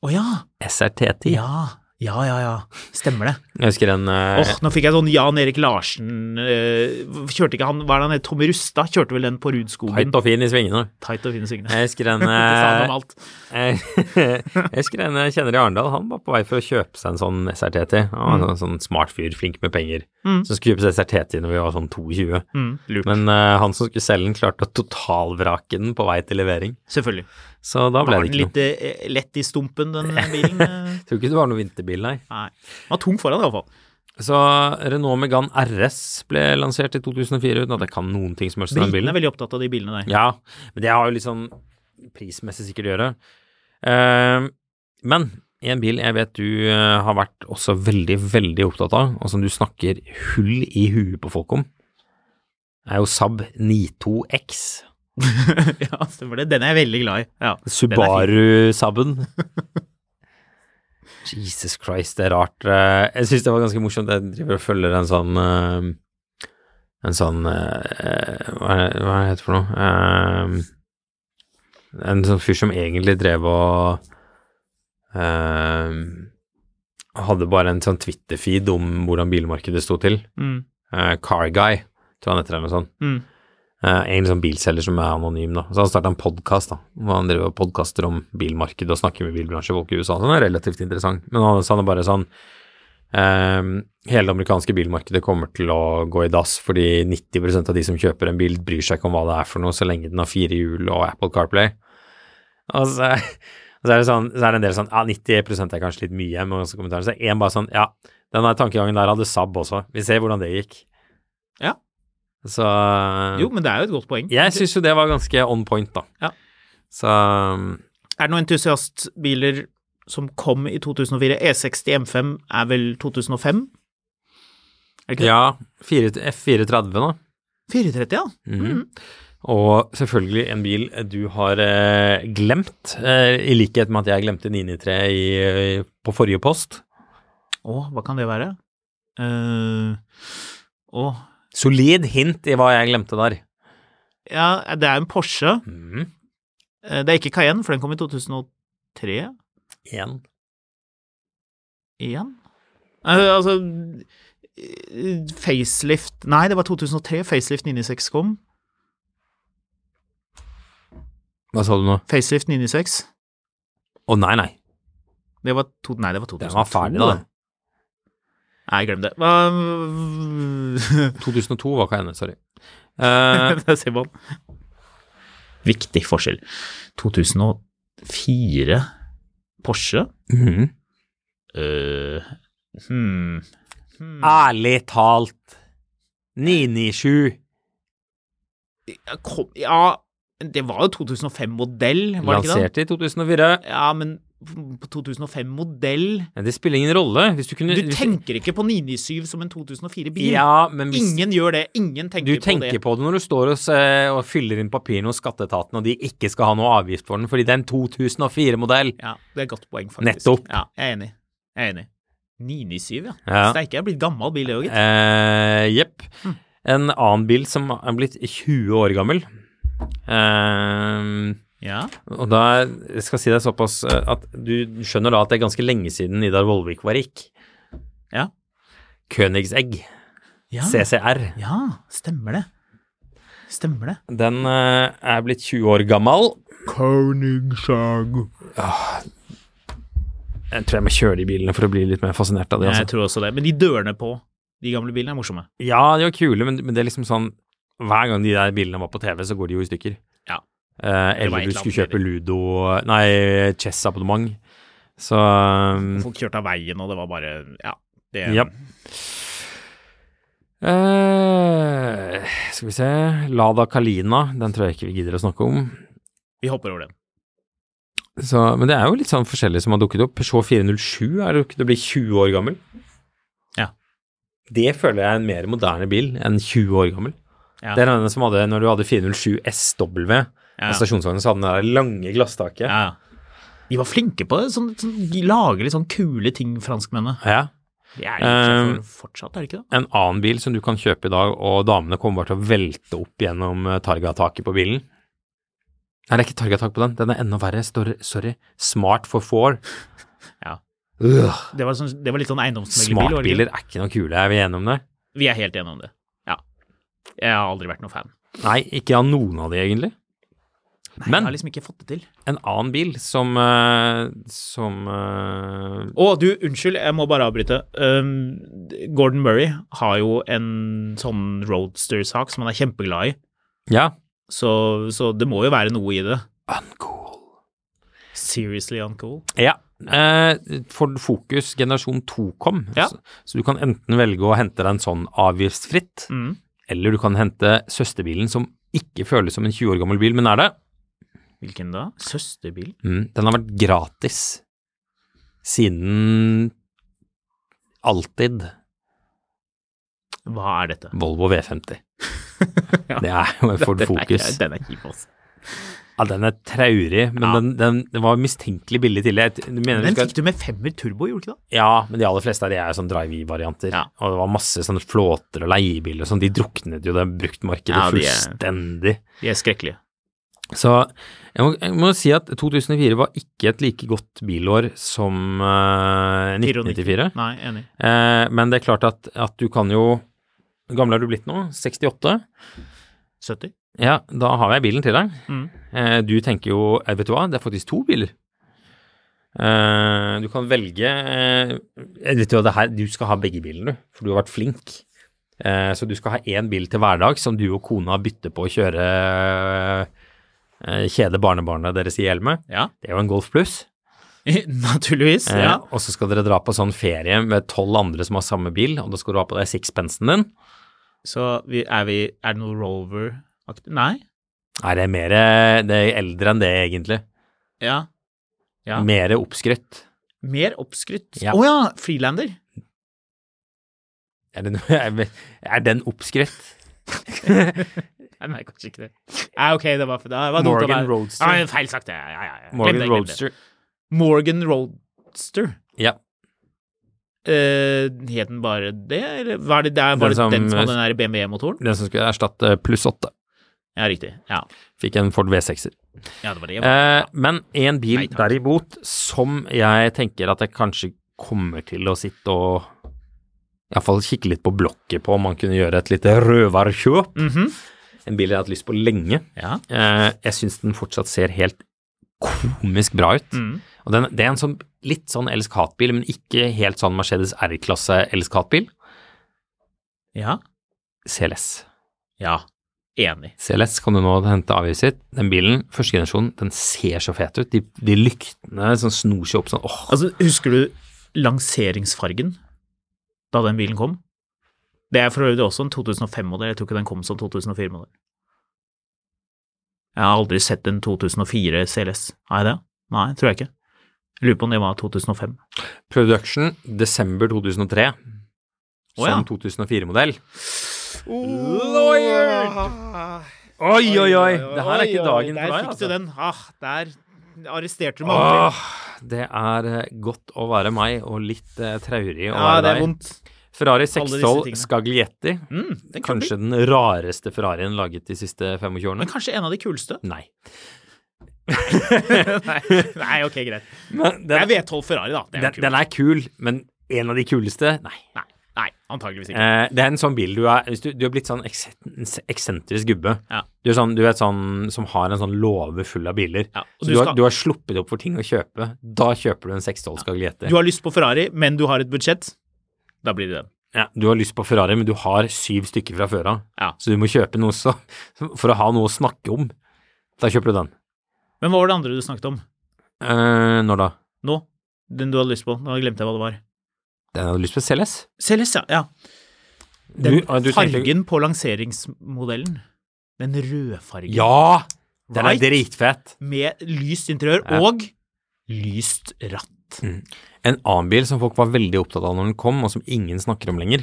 [SPEAKER 2] Å ja.
[SPEAKER 1] SRT10.
[SPEAKER 2] ja! Ja, ja, ja. Stemmer det.
[SPEAKER 1] Jeg husker den eh,
[SPEAKER 2] Åh, nå fikk jeg sånn Jan Erik Larsen eh, Kjørte ikke han, hva er det han het, Tommy Rustad? Kjørte vel den på Rudskogen?
[SPEAKER 1] tight og fin i svingene.
[SPEAKER 2] Tight og fine svingene.
[SPEAKER 1] Jeg husker en
[SPEAKER 2] (laughs) Det sa han
[SPEAKER 1] eh,
[SPEAKER 2] om
[SPEAKER 1] (laughs)
[SPEAKER 2] alt.
[SPEAKER 1] jeg husker en jeg kjenner i Arendal, han var på vei for å kjøpe seg en sånn SRT10. Han var en sånn smart fyr, flink med penger,
[SPEAKER 2] Mm.
[SPEAKER 1] som skulle kjøpe seg SRT10 når vi var sånn 22.
[SPEAKER 2] Mm, lurt.
[SPEAKER 1] Men eh, han som skulle selge den, klarte å totalvrake den på vei til levering.
[SPEAKER 2] Selvfølgelig.
[SPEAKER 1] Så da ble det
[SPEAKER 2] Var den
[SPEAKER 1] ikke noe.
[SPEAKER 2] litt eh, lett i stumpen, den
[SPEAKER 1] (laughs)
[SPEAKER 2] eh, bilen? eh?
[SPEAKER 1] Tror ikke det var noen vinterbil, nei.
[SPEAKER 2] Nei. Den var tung foran, i hvert fall.
[SPEAKER 1] Så Renault Megane RS ble lansert i 2004 uten at jeg kan noen ting som helst om den
[SPEAKER 2] Britene
[SPEAKER 1] bilen.
[SPEAKER 2] er veldig opptatt av de bilene der.
[SPEAKER 1] Ja, men det har jo litt sånn prismessig sikkert å gjøre. Eh, men en bil jeg vet du eh, har vært også veldig, veldig opptatt av, og som du snakker hull i huet på folk om, er jo Saab 92X.
[SPEAKER 2] (laughs) ja, stemmer det. Den er jeg veldig glad i. Ja.
[SPEAKER 1] Subaru-sabben. (laughs) Jesus Christ, det er rart. Eh, Jeg syns det var ganske morsomt. Jeg driver og følger en sånn eh, En sånn eh, Hva er det- hva er det heter for noe? Eh, En sånn fyr som egentlig drev og eh, Hadde bare en sånn Twitter-feed om hvordan bilmarkedet sto til.
[SPEAKER 2] Mm,
[SPEAKER 1] Eh, Car Guy, tror jeg han heter, eller noe sånt.
[SPEAKER 2] mm.
[SPEAKER 1] Eh, en sånn bilselger som er anonym, da. Så han starta en podkast, da. Hvor han driver og podkaster om bilmarkedet og snakker med bilbransjefolk i USA. Så den er relativt interessant. Men han sa det bare sånn Ehm, hele det amerikanske bilmarkedet kommer til å gå i dass, fordi 90 av de som kjøper en bil, bryr seg ikke om hva det er for noe, så lenge den har fire hjul og Apple CarPlay. Og så, og så, er, det sånn, så er det en del sånn Ja, 90 er kanskje litt mye, men også kommentaren så er en bare sånn Ja, den der tankegangen der hadde Saab også. Vi ser hvordan det gikk.
[SPEAKER 2] Ja.
[SPEAKER 1] Så eh,
[SPEAKER 2] Jo, men det er jo et godt poeng.
[SPEAKER 1] Jeg syns jo det var ganske on point, da.
[SPEAKER 2] Ja.
[SPEAKER 1] Så
[SPEAKER 2] Er det noen entusiastbiler som kom i 2004? E60 M5 er vel 2005? Er det ikke det?
[SPEAKER 1] Ja, fire- F430 nå.
[SPEAKER 2] 430, ja. Mm.
[SPEAKER 1] Mhm. Og selvfølgelig en bil du har eh, glemt, eh, i likhet med at jeg glemte 993 i, eh, på forrige post.
[SPEAKER 2] Å, hva kan det være? Eh, Å,
[SPEAKER 1] Solid hint i hva jeg glemte der.
[SPEAKER 2] ja, det er en Porsche.
[SPEAKER 1] Mhm.
[SPEAKER 2] Eh, Det er ikke Cayenne, for den kom i 2003
[SPEAKER 1] En.
[SPEAKER 2] igjen. Eh, Altså eh, Facelift Nei, det var 2003 Facelift 996 kom.
[SPEAKER 1] Hva sa du nå?
[SPEAKER 2] Facelift 996.
[SPEAKER 1] Å nei, nei.
[SPEAKER 2] Det var to, Nei, det var 2002.
[SPEAKER 1] Den var ferdig, da.
[SPEAKER 2] det. Nei, glem det. Hva- (laughs)
[SPEAKER 1] 2002 var hva henne, sorry. Eh,
[SPEAKER 2] Det ser man. Viktig forskjell. 2004 Porsche.
[SPEAKER 1] (laughs) mhm.
[SPEAKER 2] Eh, hmm. Hmm.
[SPEAKER 1] Ærlig talt. 997.
[SPEAKER 2] Ja, kom, ja, det var jo 2005-modell, var det ikke det?
[SPEAKER 1] Lansert i 2004.
[SPEAKER 2] Ja, men på 2005-modell
[SPEAKER 1] Ja, det spiller ingen rolle. Hvis du kunne
[SPEAKER 2] Du
[SPEAKER 1] hvis-
[SPEAKER 2] tenker ikke på 997 som en 2004-bil.
[SPEAKER 1] Ja, men hvis
[SPEAKER 2] Ingen gjør det. Ingen tenker,
[SPEAKER 1] Du tenker
[SPEAKER 2] på det.
[SPEAKER 1] på det når du står og, se- og fyller inn papirene hos skatteetaten, og de ikke skal ha noe avgift for den fordi det er en 2004-modell.
[SPEAKER 2] Ja, det er et godt poeng, faktisk.
[SPEAKER 1] Nettopp.
[SPEAKER 2] Ja, jeg er enig. Jeg er enig. 997, ja.
[SPEAKER 1] Ja.
[SPEAKER 2] Steike, jeg er blitt gammel bil, jeg òg, gitt.
[SPEAKER 1] Eh, Jepp. En annen bil som er blitt 20 år gammel. Eh,
[SPEAKER 2] Ja.
[SPEAKER 1] og da jeg skal si deg såpass eh, at du skjønner da at det er ganske lenge siden Idar Vollvik var rik.
[SPEAKER 2] Ja.
[SPEAKER 1] Königsegg,
[SPEAKER 2] Ja.
[SPEAKER 1] CCR.
[SPEAKER 2] ja, stemmer det. Stemmer det.
[SPEAKER 1] Den eh, er blitt 20 år gammel.
[SPEAKER 2] Koenigsegg.
[SPEAKER 1] Jeg tror jeg må kjøre de bilene for å bli litt mer fascinert av det. altså.
[SPEAKER 2] Jeg tror også det. Men de dørene på de gamle bilene er morsomme.
[SPEAKER 1] Ja, de var kule, men, men det er liksom sånn Hver gang de der bilene var på TV, så går de jo i stykker.
[SPEAKER 2] Ja.
[SPEAKER 1] Eh,
[SPEAKER 2] Det var
[SPEAKER 1] eller du
[SPEAKER 2] et eller
[SPEAKER 1] skulle
[SPEAKER 2] annet
[SPEAKER 1] kjøpe Ludo Nei, Chess-abonnement. Så um,
[SPEAKER 2] Folk kjørte av veien, og det var bare Mm. Ja. Det,
[SPEAKER 1] Ja. eh, Skal vi se Lada Kalina, den tror jeg ikke vi gidder å snakke om.
[SPEAKER 2] Vi hopper over den.
[SPEAKER 1] Så, men det er jo litt sånn forskjellig som har dukket opp. Peugeot 407 er jo ikke det blir 20 år gammel.
[SPEAKER 2] Ja.
[SPEAKER 1] Det føler jeg er en mer moderne bil enn 20 år gammel.
[SPEAKER 2] Ja.
[SPEAKER 1] Det er den som hadde, når du hadde 407 SW,
[SPEAKER 2] Ja.
[SPEAKER 1] Av stasjonsvognen så hadde den det der lange glasstaket.
[SPEAKER 2] Ja. De var flinke på det. Sånn, sånn, de lager litt sånn kule ting, franskmennene. Eh,
[SPEAKER 1] Ja.
[SPEAKER 2] De er jo
[SPEAKER 1] Um,
[SPEAKER 2] for- fortsatt, er det ikke det?
[SPEAKER 1] En annen bil som du kan kjøpe i dag, og damene kommer bare til å velte opp gjennom eh, targataket på bilen. Nei, det er ikke targatak på den. Den er enda verre. Står, sorry. Smart for four.
[SPEAKER 2] Ja.
[SPEAKER 1] Øh,
[SPEAKER 2] Det var, sånn, det var litt sånn eiendomsmeglerbil. var det ikke
[SPEAKER 1] Smartbiler er ikke noe kule. Er vi enige om det?
[SPEAKER 2] det? Vi er helt enige om det. Ja. Jeg har aldri vært noen fan.
[SPEAKER 1] Nei, ikke av noen av de, egentlig.
[SPEAKER 2] Nei,
[SPEAKER 1] Men-
[SPEAKER 2] Jeg har liksom ikke fått det til.
[SPEAKER 1] En annen bil som eh, Som eh,
[SPEAKER 2] Å, du, unnskyld, jeg må bare avbryte. Um, Gordon Murray har jo en sånn roadster-sak som han er kjempeglad i,
[SPEAKER 1] Ja.
[SPEAKER 2] så, så det må jo være noe i det.
[SPEAKER 1] Uncool.
[SPEAKER 2] Seriously uncool.
[SPEAKER 1] Ja. Eh, for Fokus generasjon 2 kom,
[SPEAKER 2] Ja.
[SPEAKER 1] så, så du kan enten velge å hente deg en sånn avgiftsfritt,
[SPEAKER 2] Mm.
[SPEAKER 1] eller du kan hente søsterbilen som ikke føles som en 20 år gammel bil, men er det.
[SPEAKER 2] Hvilken da? Søsterbil?
[SPEAKER 1] Mm, den har vært gratis siden alltid
[SPEAKER 2] Hva er dette?
[SPEAKER 1] Volvo V50.
[SPEAKER 2] (laughs) Ja.
[SPEAKER 1] Det er jo en Ford
[SPEAKER 2] Den er-
[SPEAKER 1] Fokus.
[SPEAKER 2] Den er kjip, altså.
[SPEAKER 1] Ja, den er traurig, men
[SPEAKER 2] Ja.
[SPEAKER 1] den, den, den var mistenkelig billig tidligere. Jeg t- du mener du
[SPEAKER 2] Den
[SPEAKER 1] skal-
[SPEAKER 2] fikk du med femmer turbo, gjorde du ikke det?
[SPEAKER 1] Ja, men de aller fleste av de er jo sånn drive-i-varianter.
[SPEAKER 2] Ja.
[SPEAKER 1] Og det var masse sånne flåter og leiebiler og sånn. De druknet jo det bruktmarkedet
[SPEAKER 2] Ja, de er-
[SPEAKER 1] fullstendig.
[SPEAKER 2] De er skrekkelige.
[SPEAKER 1] Så jeg må, jeg må si at 2004 var ikke et like godt bilår som eh, 1994.
[SPEAKER 2] Nei, enig.
[SPEAKER 1] Eh, men det er klart at, at du kan jo Hvor gammel er du blitt nå? 68?
[SPEAKER 2] 70?
[SPEAKER 1] Ja, da har jeg bilen til deg.
[SPEAKER 2] Mm.
[SPEAKER 1] Eh, du tenker jo eh, Vet du hva, det er faktisk to biler. Eh, du kan velge eh, vet du, hva, det her, du skal ha begge bilene, du, for du har vært flink. Eh, så du skal ha én bil til hverdag som du og kona bytter på å kjøre eh, kjede barnebarnet deres i hjel med.
[SPEAKER 2] Ja,
[SPEAKER 1] Det er jo en Golf pluss.
[SPEAKER 2] (laughs) naturligvis.
[SPEAKER 1] Eh,
[SPEAKER 2] Ja.
[SPEAKER 1] Og så skal dere dra på sånn ferie med tolv andre som har samme bil, og da skal du ha på deg sixpensen din.
[SPEAKER 2] Så vi, er, vi, er det noe Rover-aktig? Nei?
[SPEAKER 1] Nei, det er mer eh, det er eldre enn det, egentlig.
[SPEAKER 2] Ja. Ja.
[SPEAKER 1] Mer oppskrytt.
[SPEAKER 2] Mer oppskrytt. Å
[SPEAKER 1] Ja.
[SPEAKER 2] ja. Freelander.
[SPEAKER 1] Er, det noe, (laughs) er, er den oppskrytt?
[SPEAKER 2] (laughs) Nei, nei, kanskje ikke det. Nei, ok, det var, det var dumt av
[SPEAKER 1] Morgan
[SPEAKER 2] meg.
[SPEAKER 1] Roadster.
[SPEAKER 2] Nei, feil sagt, det. Ja, ja, ja. Glem det,
[SPEAKER 1] Morgan
[SPEAKER 2] glem det.
[SPEAKER 1] Roadster.
[SPEAKER 2] Morgan Roadster.
[SPEAKER 1] Ja.
[SPEAKER 2] Eh, het den bare det, eller var det, det er bare
[SPEAKER 1] Den
[SPEAKER 2] den
[SPEAKER 1] som-
[SPEAKER 2] som, hadde den der BMW-motoren?
[SPEAKER 1] Den som skulle erstatte pluss åtte.
[SPEAKER 2] Ja, riktig. Ja.
[SPEAKER 1] Fikk en Ford V6-er.
[SPEAKER 2] ja, det var det.
[SPEAKER 1] Eh, men en bil
[SPEAKER 2] Nei, takk.
[SPEAKER 1] derimot som jeg tenker at jeg kanskje kommer til å sitte og iallfall kikke litt på blokket på om man kunne gjøre et lite røverkjøp.
[SPEAKER 2] Mhm.
[SPEAKER 1] En bil jeg har hatt lyst på lenge.
[SPEAKER 2] ja.
[SPEAKER 1] Eh, jeg syns den fortsatt ser helt komisk bra ut.
[SPEAKER 2] Mm.
[SPEAKER 1] Og den, det er en sånn litt sånn elsk-hat-bil, men ikke helt sånn Mercedes R-klasse elsk-hat-bil.
[SPEAKER 2] ja.
[SPEAKER 1] CLS.
[SPEAKER 2] Ja. Enig.
[SPEAKER 1] CLS kan du nå hente avgivet sitt. Den bilen, første generasjon, den ser så fet ut. De, de lyktene som snor seg opp sånn, åh.
[SPEAKER 2] Altså, husker du lanseringsfargen da den bilen kom? Det er for øvrig også en 2005-modell, jeg tror ikke den kom som 2004-modell. Jeg har aldri sett en 2004 CLS, har jeg det? Nei, tror jeg ikke. Jeg lurer på om det var 2005.
[SPEAKER 1] Production, desember 2003.
[SPEAKER 2] Å, ja.
[SPEAKER 1] Som 2004-modell.
[SPEAKER 2] Oi,
[SPEAKER 1] oi, oi. Det her er ikke dagen for deg,
[SPEAKER 2] der Der fikk
[SPEAKER 1] altså.
[SPEAKER 2] du den. Ah, der arresterte du meg ordentlig.
[SPEAKER 1] Åh, det er eh, godt å være meg, og litt eh, traurig å
[SPEAKER 2] Ja,
[SPEAKER 1] være
[SPEAKER 2] det er
[SPEAKER 1] deg.
[SPEAKER 2] vondt.
[SPEAKER 1] Ferrari
[SPEAKER 2] disse
[SPEAKER 1] 612
[SPEAKER 2] tingene.
[SPEAKER 1] Scaglietti.
[SPEAKER 2] Mm, den kule
[SPEAKER 1] Kanskje den rareste Ferrarien laget de siste 25
[SPEAKER 2] bilen. Men
[SPEAKER 1] årene.
[SPEAKER 2] kanskje en av de
[SPEAKER 1] (laughs)
[SPEAKER 2] kuleste? (laughs)
[SPEAKER 1] Nei.
[SPEAKER 2] Nei, Nei, ok, greit.
[SPEAKER 1] Men
[SPEAKER 2] Det er
[SPEAKER 1] den,
[SPEAKER 2] V12 Ferrari, da. Det er jo
[SPEAKER 1] den,
[SPEAKER 2] kult.
[SPEAKER 1] den er kul, men en av de kuleste? Nei.
[SPEAKER 2] Nei, nei, antageligvis ikke.
[SPEAKER 1] Eh, det er en sånn bil du er hvis du, du er blitt sånn eksen- eksentrisk gubbe.
[SPEAKER 2] Ja.
[SPEAKER 1] Du er sånn, du vet, sånn som har en sånn låve full av biler.
[SPEAKER 2] Ja, og
[SPEAKER 1] Så
[SPEAKER 2] du
[SPEAKER 1] du, har,
[SPEAKER 2] skal-
[SPEAKER 1] du har sluppet opp for ting å kjøpe. Da kjøper du en 612 Scaglietti.
[SPEAKER 2] Du har lyst på Ferrari, men du har et budsjett. Da blir det den.
[SPEAKER 1] ja, du har lyst på Ferrari, men du har syv stykker fra før av.
[SPEAKER 2] Ja.
[SPEAKER 1] Så du må kjøpe noe så, for å ha noe å snakke om. Da kjøper du den.
[SPEAKER 2] Men hva var det andre du snakket om
[SPEAKER 1] Eh, når da?
[SPEAKER 2] nå? Den du hadde lyst på? Nå glemte jeg hva det var.
[SPEAKER 1] Den jeg hadde lyst på CLS.
[SPEAKER 2] CLS, ja. ja. Den
[SPEAKER 1] Du- ah, du tenkte-
[SPEAKER 2] fargen på lanseringsmodellen. Den rødfargen.
[SPEAKER 1] Ja! Den
[SPEAKER 2] Right?
[SPEAKER 1] er dritfett.
[SPEAKER 2] Med lyst interiør
[SPEAKER 1] Ja.
[SPEAKER 2] og lyst ratt.
[SPEAKER 1] En annen bil som folk var veldig opptatt av når den kom, og som ingen snakker om lenger,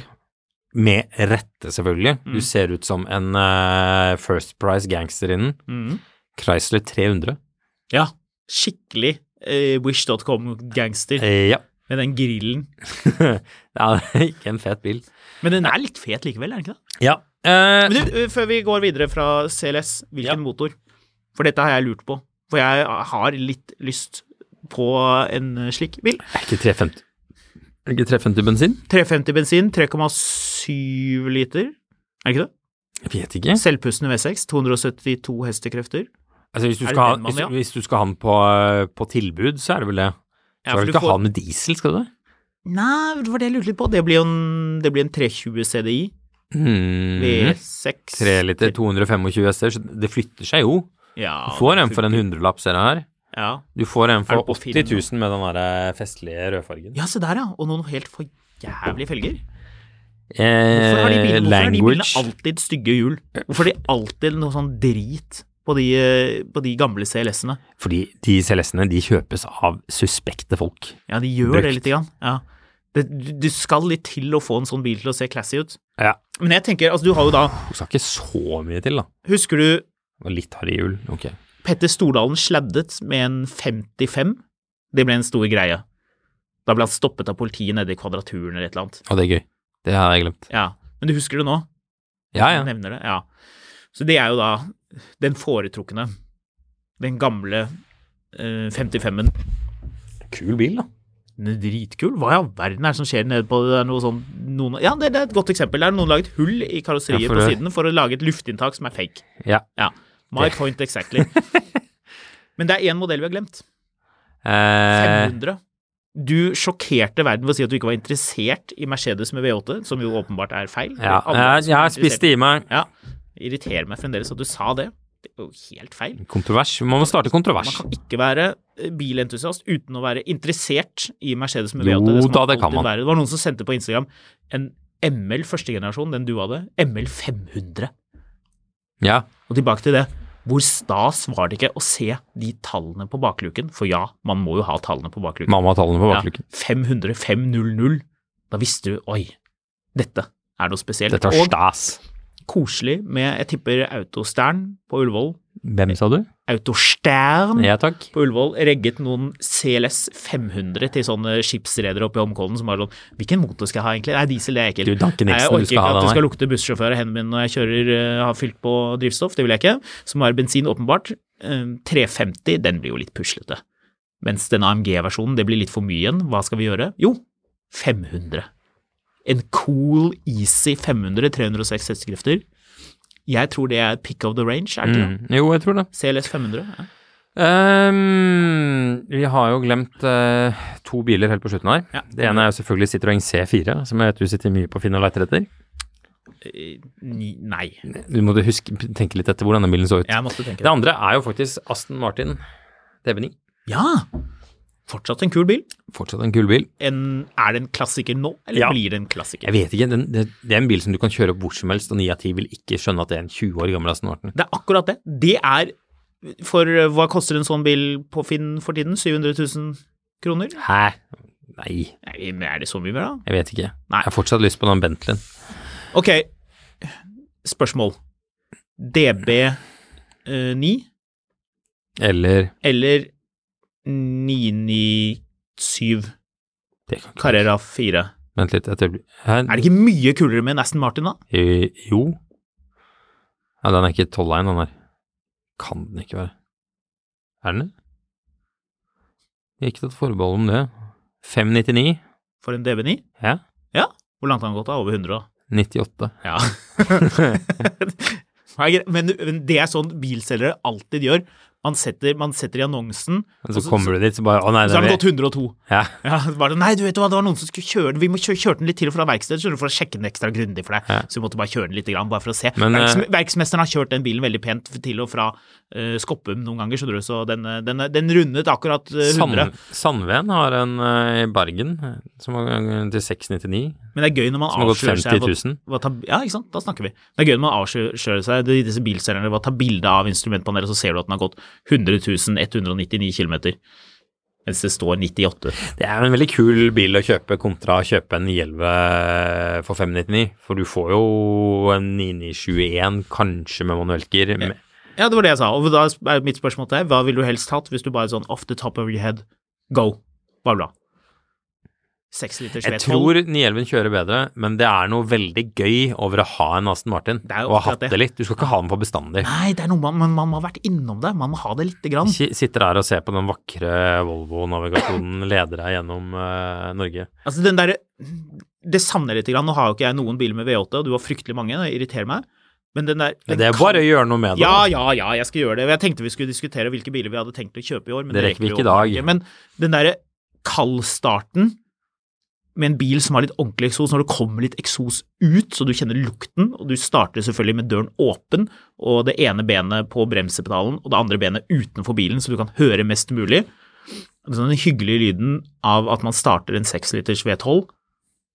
[SPEAKER 1] med rette selvfølgelig, du ser ut som en eh, First Price gangster innen,
[SPEAKER 2] Mhm.
[SPEAKER 1] Chrysler 300.
[SPEAKER 2] Ja. Skikkelig eh, Wish.com-gangster
[SPEAKER 1] Eh, (laughs) ja,
[SPEAKER 2] med den grillen.
[SPEAKER 1] det er (laughs) ikke en fet bil.
[SPEAKER 2] Men den er litt fet likevel, er den ikke det?
[SPEAKER 1] Ja, eh,
[SPEAKER 2] Men du, eh, før vi går videre fra CLS, hvilken motor? For dette har jeg lurt på. For jeg har litt lyst på en eh, slik bil.
[SPEAKER 1] er ikke 350. Er det ikke 350 bensin?
[SPEAKER 2] 350 bensin, 3,7 liter. Er det ikke det?
[SPEAKER 1] Jeg vet
[SPEAKER 2] Mm.
[SPEAKER 1] ikke.
[SPEAKER 2] Selvpustende V6, 272 hestekrefter.
[SPEAKER 1] Altså, hvis, du
[SPEAKER 2] Er det
[SPEAKER 1] skal, ha-
[SPEAKER 2] den man
[SPEAKER 1] hvis,
[SPEAKER 2] vil ha?
[SPEAKER 1] hvis du skal ha den på, eh, på tilbud, så er det vel det. Så
[SPEAKER 2] Ja, for
[SPEAKER 1] skal du
[SPEAKER 2] du
[SPEAKER 1] ikke
[SPEAKER 2] får-
[SPEAKER 1] ha den med diesel, skal du det?
[SPEAKER 2] Nei, det var det jeg lurte litt på. Det blir jo en, det blir en 320 CDI.
[SPEAKER 1] Mm,
[SPEAKER 2] V6
[SPEAKER 1] 3 liter, 225 hester, så det flytter seg jo.
[SPEAKER 2] Ja,
[SPEAKER 1] Du får en
[SPEAKER 2] det-
[SPEAKER 1] for en hundrelapp, ser jeg her.
[SPEAKER 2] Ja.
[SPEAKER 1] Du får en
[SPEAKER 2] Er
[SPEAKER 1] for
[SPEAKER 2] det på
[SPEAKER 1] 80
[SPEAKER 2] film, da?
[SPEAKER 1] 000 med den der eh, festlige rødfargen.
[SPEAKER 2] ja, se der, ja. Og noen helt for jævlige felger. Hvorfor har de
[SPEAKER 1] Eh,
[SPEAKER 2] bilene, hvorfor har de bilene
[SPEAKER 1] language.
[SPEAKER 2] alltid stygge hjul? Hvorfor har de alltid noe sånn drit på de, eh, på de gamle CLS-ene?
[SPEAKER 1] Fordi de CLS-ene de kjøpes av suspekte folk.
[SPEAKER 2] Ja, de gjør det
[SPEAKER 1] Brukt.
[SPEAKER 2] lite grann. Ja. Det, du, du skal litt til å få en sånn bil til å se classy ut.
[SPEAKER 1] Ja.
[SPEAKER 2] Men jeg tenker, altså du har jo da
[SPEAKER 1] Du skal ikke så mye til, da.
[SPEAKER 2] Husker du
[SPEAKER 1] Det var litt harde hjul. Ok.
[SPEAKER 2] Petter Stordalen sladdet med en 55? Det ble en stor greie. Da ble han stoppet av politiet nede i Kvadraturen eller et eller annet.
[SPEAKER 1] Og det er gøy. Det har jeg glemt.
[SPEAKER 2] Ja. Men du husker det nå?
[SPEAKER 1] Ja,
[SPEAKER 2] Jeg
[SPEAKER 1] ja.
[SPEAKER 2] nevner det, ja. Så det er jo da den foretrukne, den gamle eh, 55-en.
[SPEAKER 1] Kul bil, da.
[SPEAKER 2] Den er dritkul. Hva i all verden er det som skjer nede på det? Er noe sånn, noen, ja, det, det er et godt eksempel. Der har noen laget hull i karosseriet
[SPEAKER 1] Ja, for
[SPEAKER 2] på
[SPEAKER 1] det-
[SPEAKER 2] siden for å lage et luftinntak som er fake.
[SPEAKER 1] Ja. (laughs)
[SPEAKER 2] Ja. My point exactly. Men det er én modell vi har glemt.
[SPEAKER 1] Eh,
[SPEAKER 2] 500. Du sjokkerte verden ved å si at du ikke var interessert i Mercedes med V8, som jo åpenbart er feil.
[SPEAKER 1] ja,
[SPEAKER 2] Alle
[SPEAKER 1] jeg,
[SPEAKER 2] som er
[SPEAKER 1] jeg spiste i meg
[SPEAKER 2] Ja. Irriterer meg fremdeles at du sa det. Det er jo helt feil.
[SPEAKER 1] kontrovers. Man må starte
[SPEAKER 2] Man
[SPEAKER 1] kontrovers.
[SPEAKER 2] kan ikke være eh, bilentusiast uten å være interessert i Mercedes med
[SPEAKER 1] Jo
[SPEAKER 2] V8. skal
[SPEAKER 1] da, det kan
[SPEAKER 2] alltid
[SPEAKER 1] man.
[SPEAKER 2] Være. Det var noen som sendte på Instagram en ML første generasjon, den du hadde, ML 500.
[SPEAKER 1] Ja.
[SPEAKER 2] Og tilbake til det. Hvor stas var det ikke å se de tallene på bakluken? For ja, man må jo ha tallene på bakluken.
[SPEAKER 1] Mamma har tallene på bakluken.
[SPEAKER 2] Ja, 500, 500. Da visste du oi, dette er noe spesielt.
[SPEAKER 1] Dette er
[SPEAKER 2] og
[SPEAKER 1] stas.
[SPEAKER 2] koselig med, jeg tipper, Autostern på Ullevål.
[SPEAKER 1] Hvem sa du?
[SPEAKER 2] Autostern
[SPEAKER 1] Ja takk.
[SPEAKER 2] på Ullevål regget noen CLS 500 til sånne skipsredere oppe i Holmenkollen som var sånn Hvilken motor skal jeg ha, egentlig? Nei, diesel det er ekkelt.
[SPEAKER 1] Du, Duncan
[SPEAKER 2] Nei, jeg
[SPEAKER 1] Nixon,
[SPEAKER 2] orker
[SPEAKER 1] du skal
[SPEAKER 2] ikke
[SPEAKER 1] ha
[SPEAKER 2] at
[SPEAKER 1] den
[SPEAKER 2] det
[SPEAKER 1] her.
[SPEAKER 2] skal lukte bussjåfør av hendene mine når jeg kjører, eh, har fylt på drivstoff, det vil jeg ikke. Så må være bensin, åpenbart. Eh, 350, den blir jo litt puslete. Mens den AMG-versjonen, det blir litt for mye igjen. Hva skal vi gjøre? Jo, 500. En cool, easy 500, 306 hestekrefter. Jeg tror det er pick of the range, er det ikke det?
[SPEAKER 1] Mm. Jo, jeg tror det.
[SPEAKER 2] CLS 500? Ja.
[SPEAKER 1] Ehm, vi har jo glemt eh, to biler helt på slutten her.
[SPEAKER 2] Ja.
[SPEAKER 1] Det ene er jo selvfølgelig Citroën C4, som jeg vet du sitter mye på Finn og leter etter.
[SPEAKER 2] Eh, ni- Nei.
[SPEAKER 1] Du må huske, tenke litt etter hvor denne bilen så ut.
[SPEAKER 2] Jeg måtte tenke
[SPEAKER 1] Det
[SPEAKER 2] det.
[SPEAKER 1] andre er jo faktisk Aston Martin DB9.
[SPEAKER 2] Ja! Fortsatt en kul bil.
[SPEAKER 1] Fortsatt en kul bil.
[SPEAKER 2] En, er det en klassiker nå, eller
[SPEAKER 1] Ja.
[SPEAKER 2] blir det en klassiker?
[SPEAKER 1] Jeg vet ikke, den, det, det er en bil som du kan kjøre opp hvor som helst, og 9 av 10 vil ikke skjønne at det er en 20 år gammel Aston Martin.
[SPEAKER 2] Det er akkurat det. Det er For eh, hva koster en sånn bil på Finn for tiden? 700 000 kroner?
[SPEAKER 1] Hæ? Nei,
[SPEAKER 2] Nei, men er det så mye mer, da?
[SPEAKER 1] jeg vet ikke.
[SPEAKER 2] Nei.
[SPEAKER 1] Jeg har fortsatt lyst på den Bentleyen.
[SPEAKER 2] Ok, spørsmål. DB9
[SPEAKER 1] Eller
[SPEAKER 2] eller 997
[SPEAKER 1] det kan Mm. ikke.
[SPEAKER 2] Carrera 4?
[SPEAKER 1] Vent litt, et øyeblikk. Hæ?
[SPEAKER 2] Er det ikke mye kulere med en Aston Martin, da?
[SPEAKER 1] Eh, Jo. Ja, den er ikke 12-line, den der. Kan den ikke være. Er den det? Jeg har ikke tatt forbehold om det. 599?
[SPEAKER 2] For en DB9?
[SPEAKER 1] Ja.
[SPEAKER 2] Hvor langt har han gått? da? Over 100, da?
[SPEAKER 1] 98.
[SPEAKER 2] (laughs) Ja. men, men det er sånn bilselgere alltid gjør. Man setter, man setter i annonsen,
[SPEAKER 1] Men
[SPEAKER 2] Og
[SPEAKER 1] så
[SPEAKER 2] så-
[SPEAKER 1] kommer du dit, så bare Å, nei,
[SPEAKER 2] så
[SPEAKER 1] det er
[SPEAKER 2] har den gått 102.
[SPEAKER 1] Ja.
[SPEAKER 2] Ja, så bare, nei, du vet hva, det var noen som skulle kjøre den, vi må kjøre, kjøre den litt til fra verkstedet, skjønner du, for å sjekke den ekstra grundig for deg.
[SPEAKER 1] Ja.
[SPEAKER 2] Så vi måtte bare kjøre den litt, grann, bare for å se.
[SPEAKER 1] Men,
[SPEAKER 2] Verksme-
[SPEAKER 1] eh,
[SPEAKER 2] Verksmesteren har kjørt den bilen veldig pent til og fra eh, Skoppum noen ganger, skjønner du, så den, eh, den, den rundet akkurat eh, 100.
[SPEAKER 1] Sand, Sandven har en eh, i Bergen eh, som har eh, til 699,
[SPEAKER 2] Men det er gøy når man
[SPEAKER 1] som har gått
[SPEAKER 2] avslører seg
[SPEAKER 1] 50
[SPEAKER 2] hva-
[SPEAKER 1] 000.
[SPEAKER 2] hva ta, ja, ikke sant? Da snakker vi. Det er gøy når man avslører seg de- disse bilselgerne ved å ta bilde av instrumentpanelet, så ser du at den har gått 100 199 km. Mens det står 98.
[SPEAKER 1] Det er en veldig kul bil å kjøpe kontra å kjøpe en 911 for 599, for du får jo en 9921 kanskje med manuelt gir. men-
[SPEAKER 2] Ja, det var det jeg sa. Og da er mitt spørsmål til deg, hva ville du helst hatt hvis du bare sånn off the top of your head, go, bla bla. Seks liters
[SPEAKER 1] Jeg tror
[SPEAKER 2] vedhold.
[SPEAKER 1] 911 kjører bedre, men det er noe veldig gøy over å ha en Aston Martin.
[SPEAKER 2] Det er jo
[SPEAKER 1] Og ha
[SPEAKER 2] akkurat
[SPEAKER 1] hatt
[SPEAKER 2] det.
[SPEAKER 1] det litt. Du skal ikke ha den for bestandig.
[SPEAKER 2] Nei, det er noe man, man, man må ha vært innom det. Man må ha det lite grann.
[SPEAKER 1] Si- Sitter her og ser på den vakre Volvo-navigasjonen leder deg gjennom eh, Norge.
[SPEAKER 2] Altså den der, Det savner jeg litt. Grann. Nå har jo ikke jeg noen biler med V8, og du har fryktelig mange, det irriterer meg. Men den der den
[SPEAKER 1] Det er
[SPEAKER 2] kan-
[SPEAKER 1] bare å gjøre noe med det.
[SPEAKER 2] Ja, ja, ja, jeg skal gjøre det. Jeg tenkte vi skulle diskutere hvilke biler vi hadde tenkt å kjøpe i år, men
[SPEAKER 1] Det
[SPEAKER 2] det,
[SPEAKER 1] rekker vi ikke i
[SPEAKER 2] jo
[SPEAKER 1] dag.
[SPEAKER 2] ikke. Men den derre kaldstarten med en bil som har litt ordentlig eksos, når det kommer litt eksos ut, så du kjenner lukten, og du starter selvfølgelig med døren åpen, og det ene benet på bremsepedalen, og det andre benet utenfor bilen, så du kan høre mest mulig. sånn Den hyggelige lyden av at man starter en seksliters V12,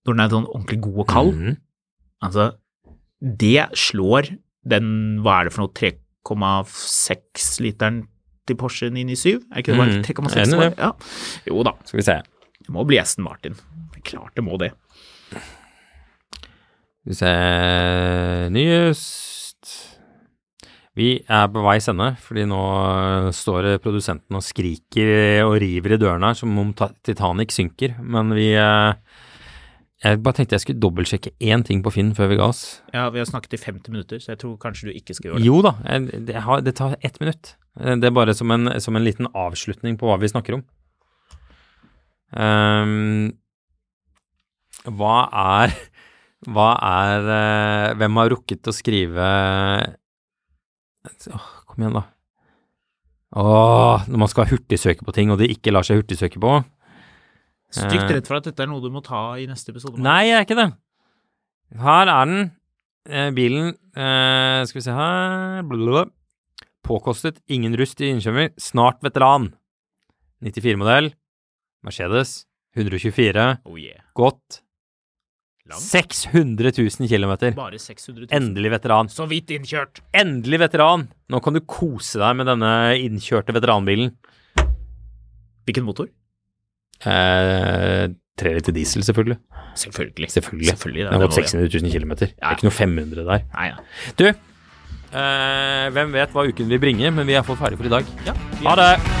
[SPEAKER 2] når den er sånn ordentlig god og kald,
[SPEAKER 1] Mhm.
[SPEAKER 2] Altså, det slår den, hva er det for noe, 3,6 literen til Porsche 997? Er ikke det bare
[SPEAKER 1] Mm,
[SPEAKER 2] 3,6?
[SPEAKER 1] enig i det.
[SPEAKER 2] var- Ja. Jo da,
[SPEAKER 1] Skal vi se.
[SPEAKER 2] det må bli Aston Martin. Klart det må det.
[SPEAKER 1] Skal vi se Nyest. Vi er på veis ende, fordi nå står det produsenten og skriker og river i dørene her som om ta- Titanic synker. Men vi eh, Jeg bare tenkte jeg skulle dobbeltsjekke én ting på Finn før vi ga oss.
[SPEAKER 2] Ja, vi har snakket i 50 minutter, så jeg tror kanskje du ikke skal gjøre det.
[SPEAKER 1] Jo da, jeg, det, har, det tar ett minutt. Eh, Det er bare som en, som en liten avslutning på hva vi snakker om. Ehm, hva er Hva er eh, Hvem har rukket å skrive Åh, Kom igjen, da. Åh, når man skal hurtigsøke på ting, og det ikke lar seg hurtigsøke på.
[SPEAKER 2] Stygt redd for at dette er noe du må ta i neste episode. Mark.
[SPEAKER 1] Nei, jeg er ikke det. Her er den. Eh, bilen eh, Skal vi se her Blablabla. Påkostet, ingen rust i innkjømmer, snart veteran. 94-modell. Mercedes. 124.
[SPEAKER 2] Oh yeah.
[SPEAKER 1] Godt.
[SPEAKER 2] Langt.
[SPEAKER 1] 600 000 km.
[SPEAKER 2] Bare 600 000.
[SPEAKER 1] Endelig veteran.
[SPEAKER 2] Så vidt innkjørt.
[SPEAKER 1] Endelig veteran! Nå kan du kose deg med denne innkjørte veteranbilen.
[SPEAKER 2] Hvilken motor?
[SPEAKER 1] Eh, tre liter diesel, selvfølgelig.
[SPEAKER 2] Selvfølgelig.
[SPEAKER 1] Selvfølgelig.
[SPEAKER 2] Selvfølgelig, det er
[SPEAKER 1] Den har
[SPEAKER 2] det
[SPEAKER 1] gått
[SPEAKER 2] nå, ja.
[SPEAKER 1] 600 000 km. Det
[SPEAKER 2] Ja.
[SPEAKER 1] er ikke noe 500 der.
[SPEAKER 2] Nei, ja.
[SPEAKER 1] Du, eh, hvem vet hva uken vil bringe, men vi er fått ferdig for i dag.
[SPEAKER 2] Ja, vi
[SPEAKER 1] Ha det!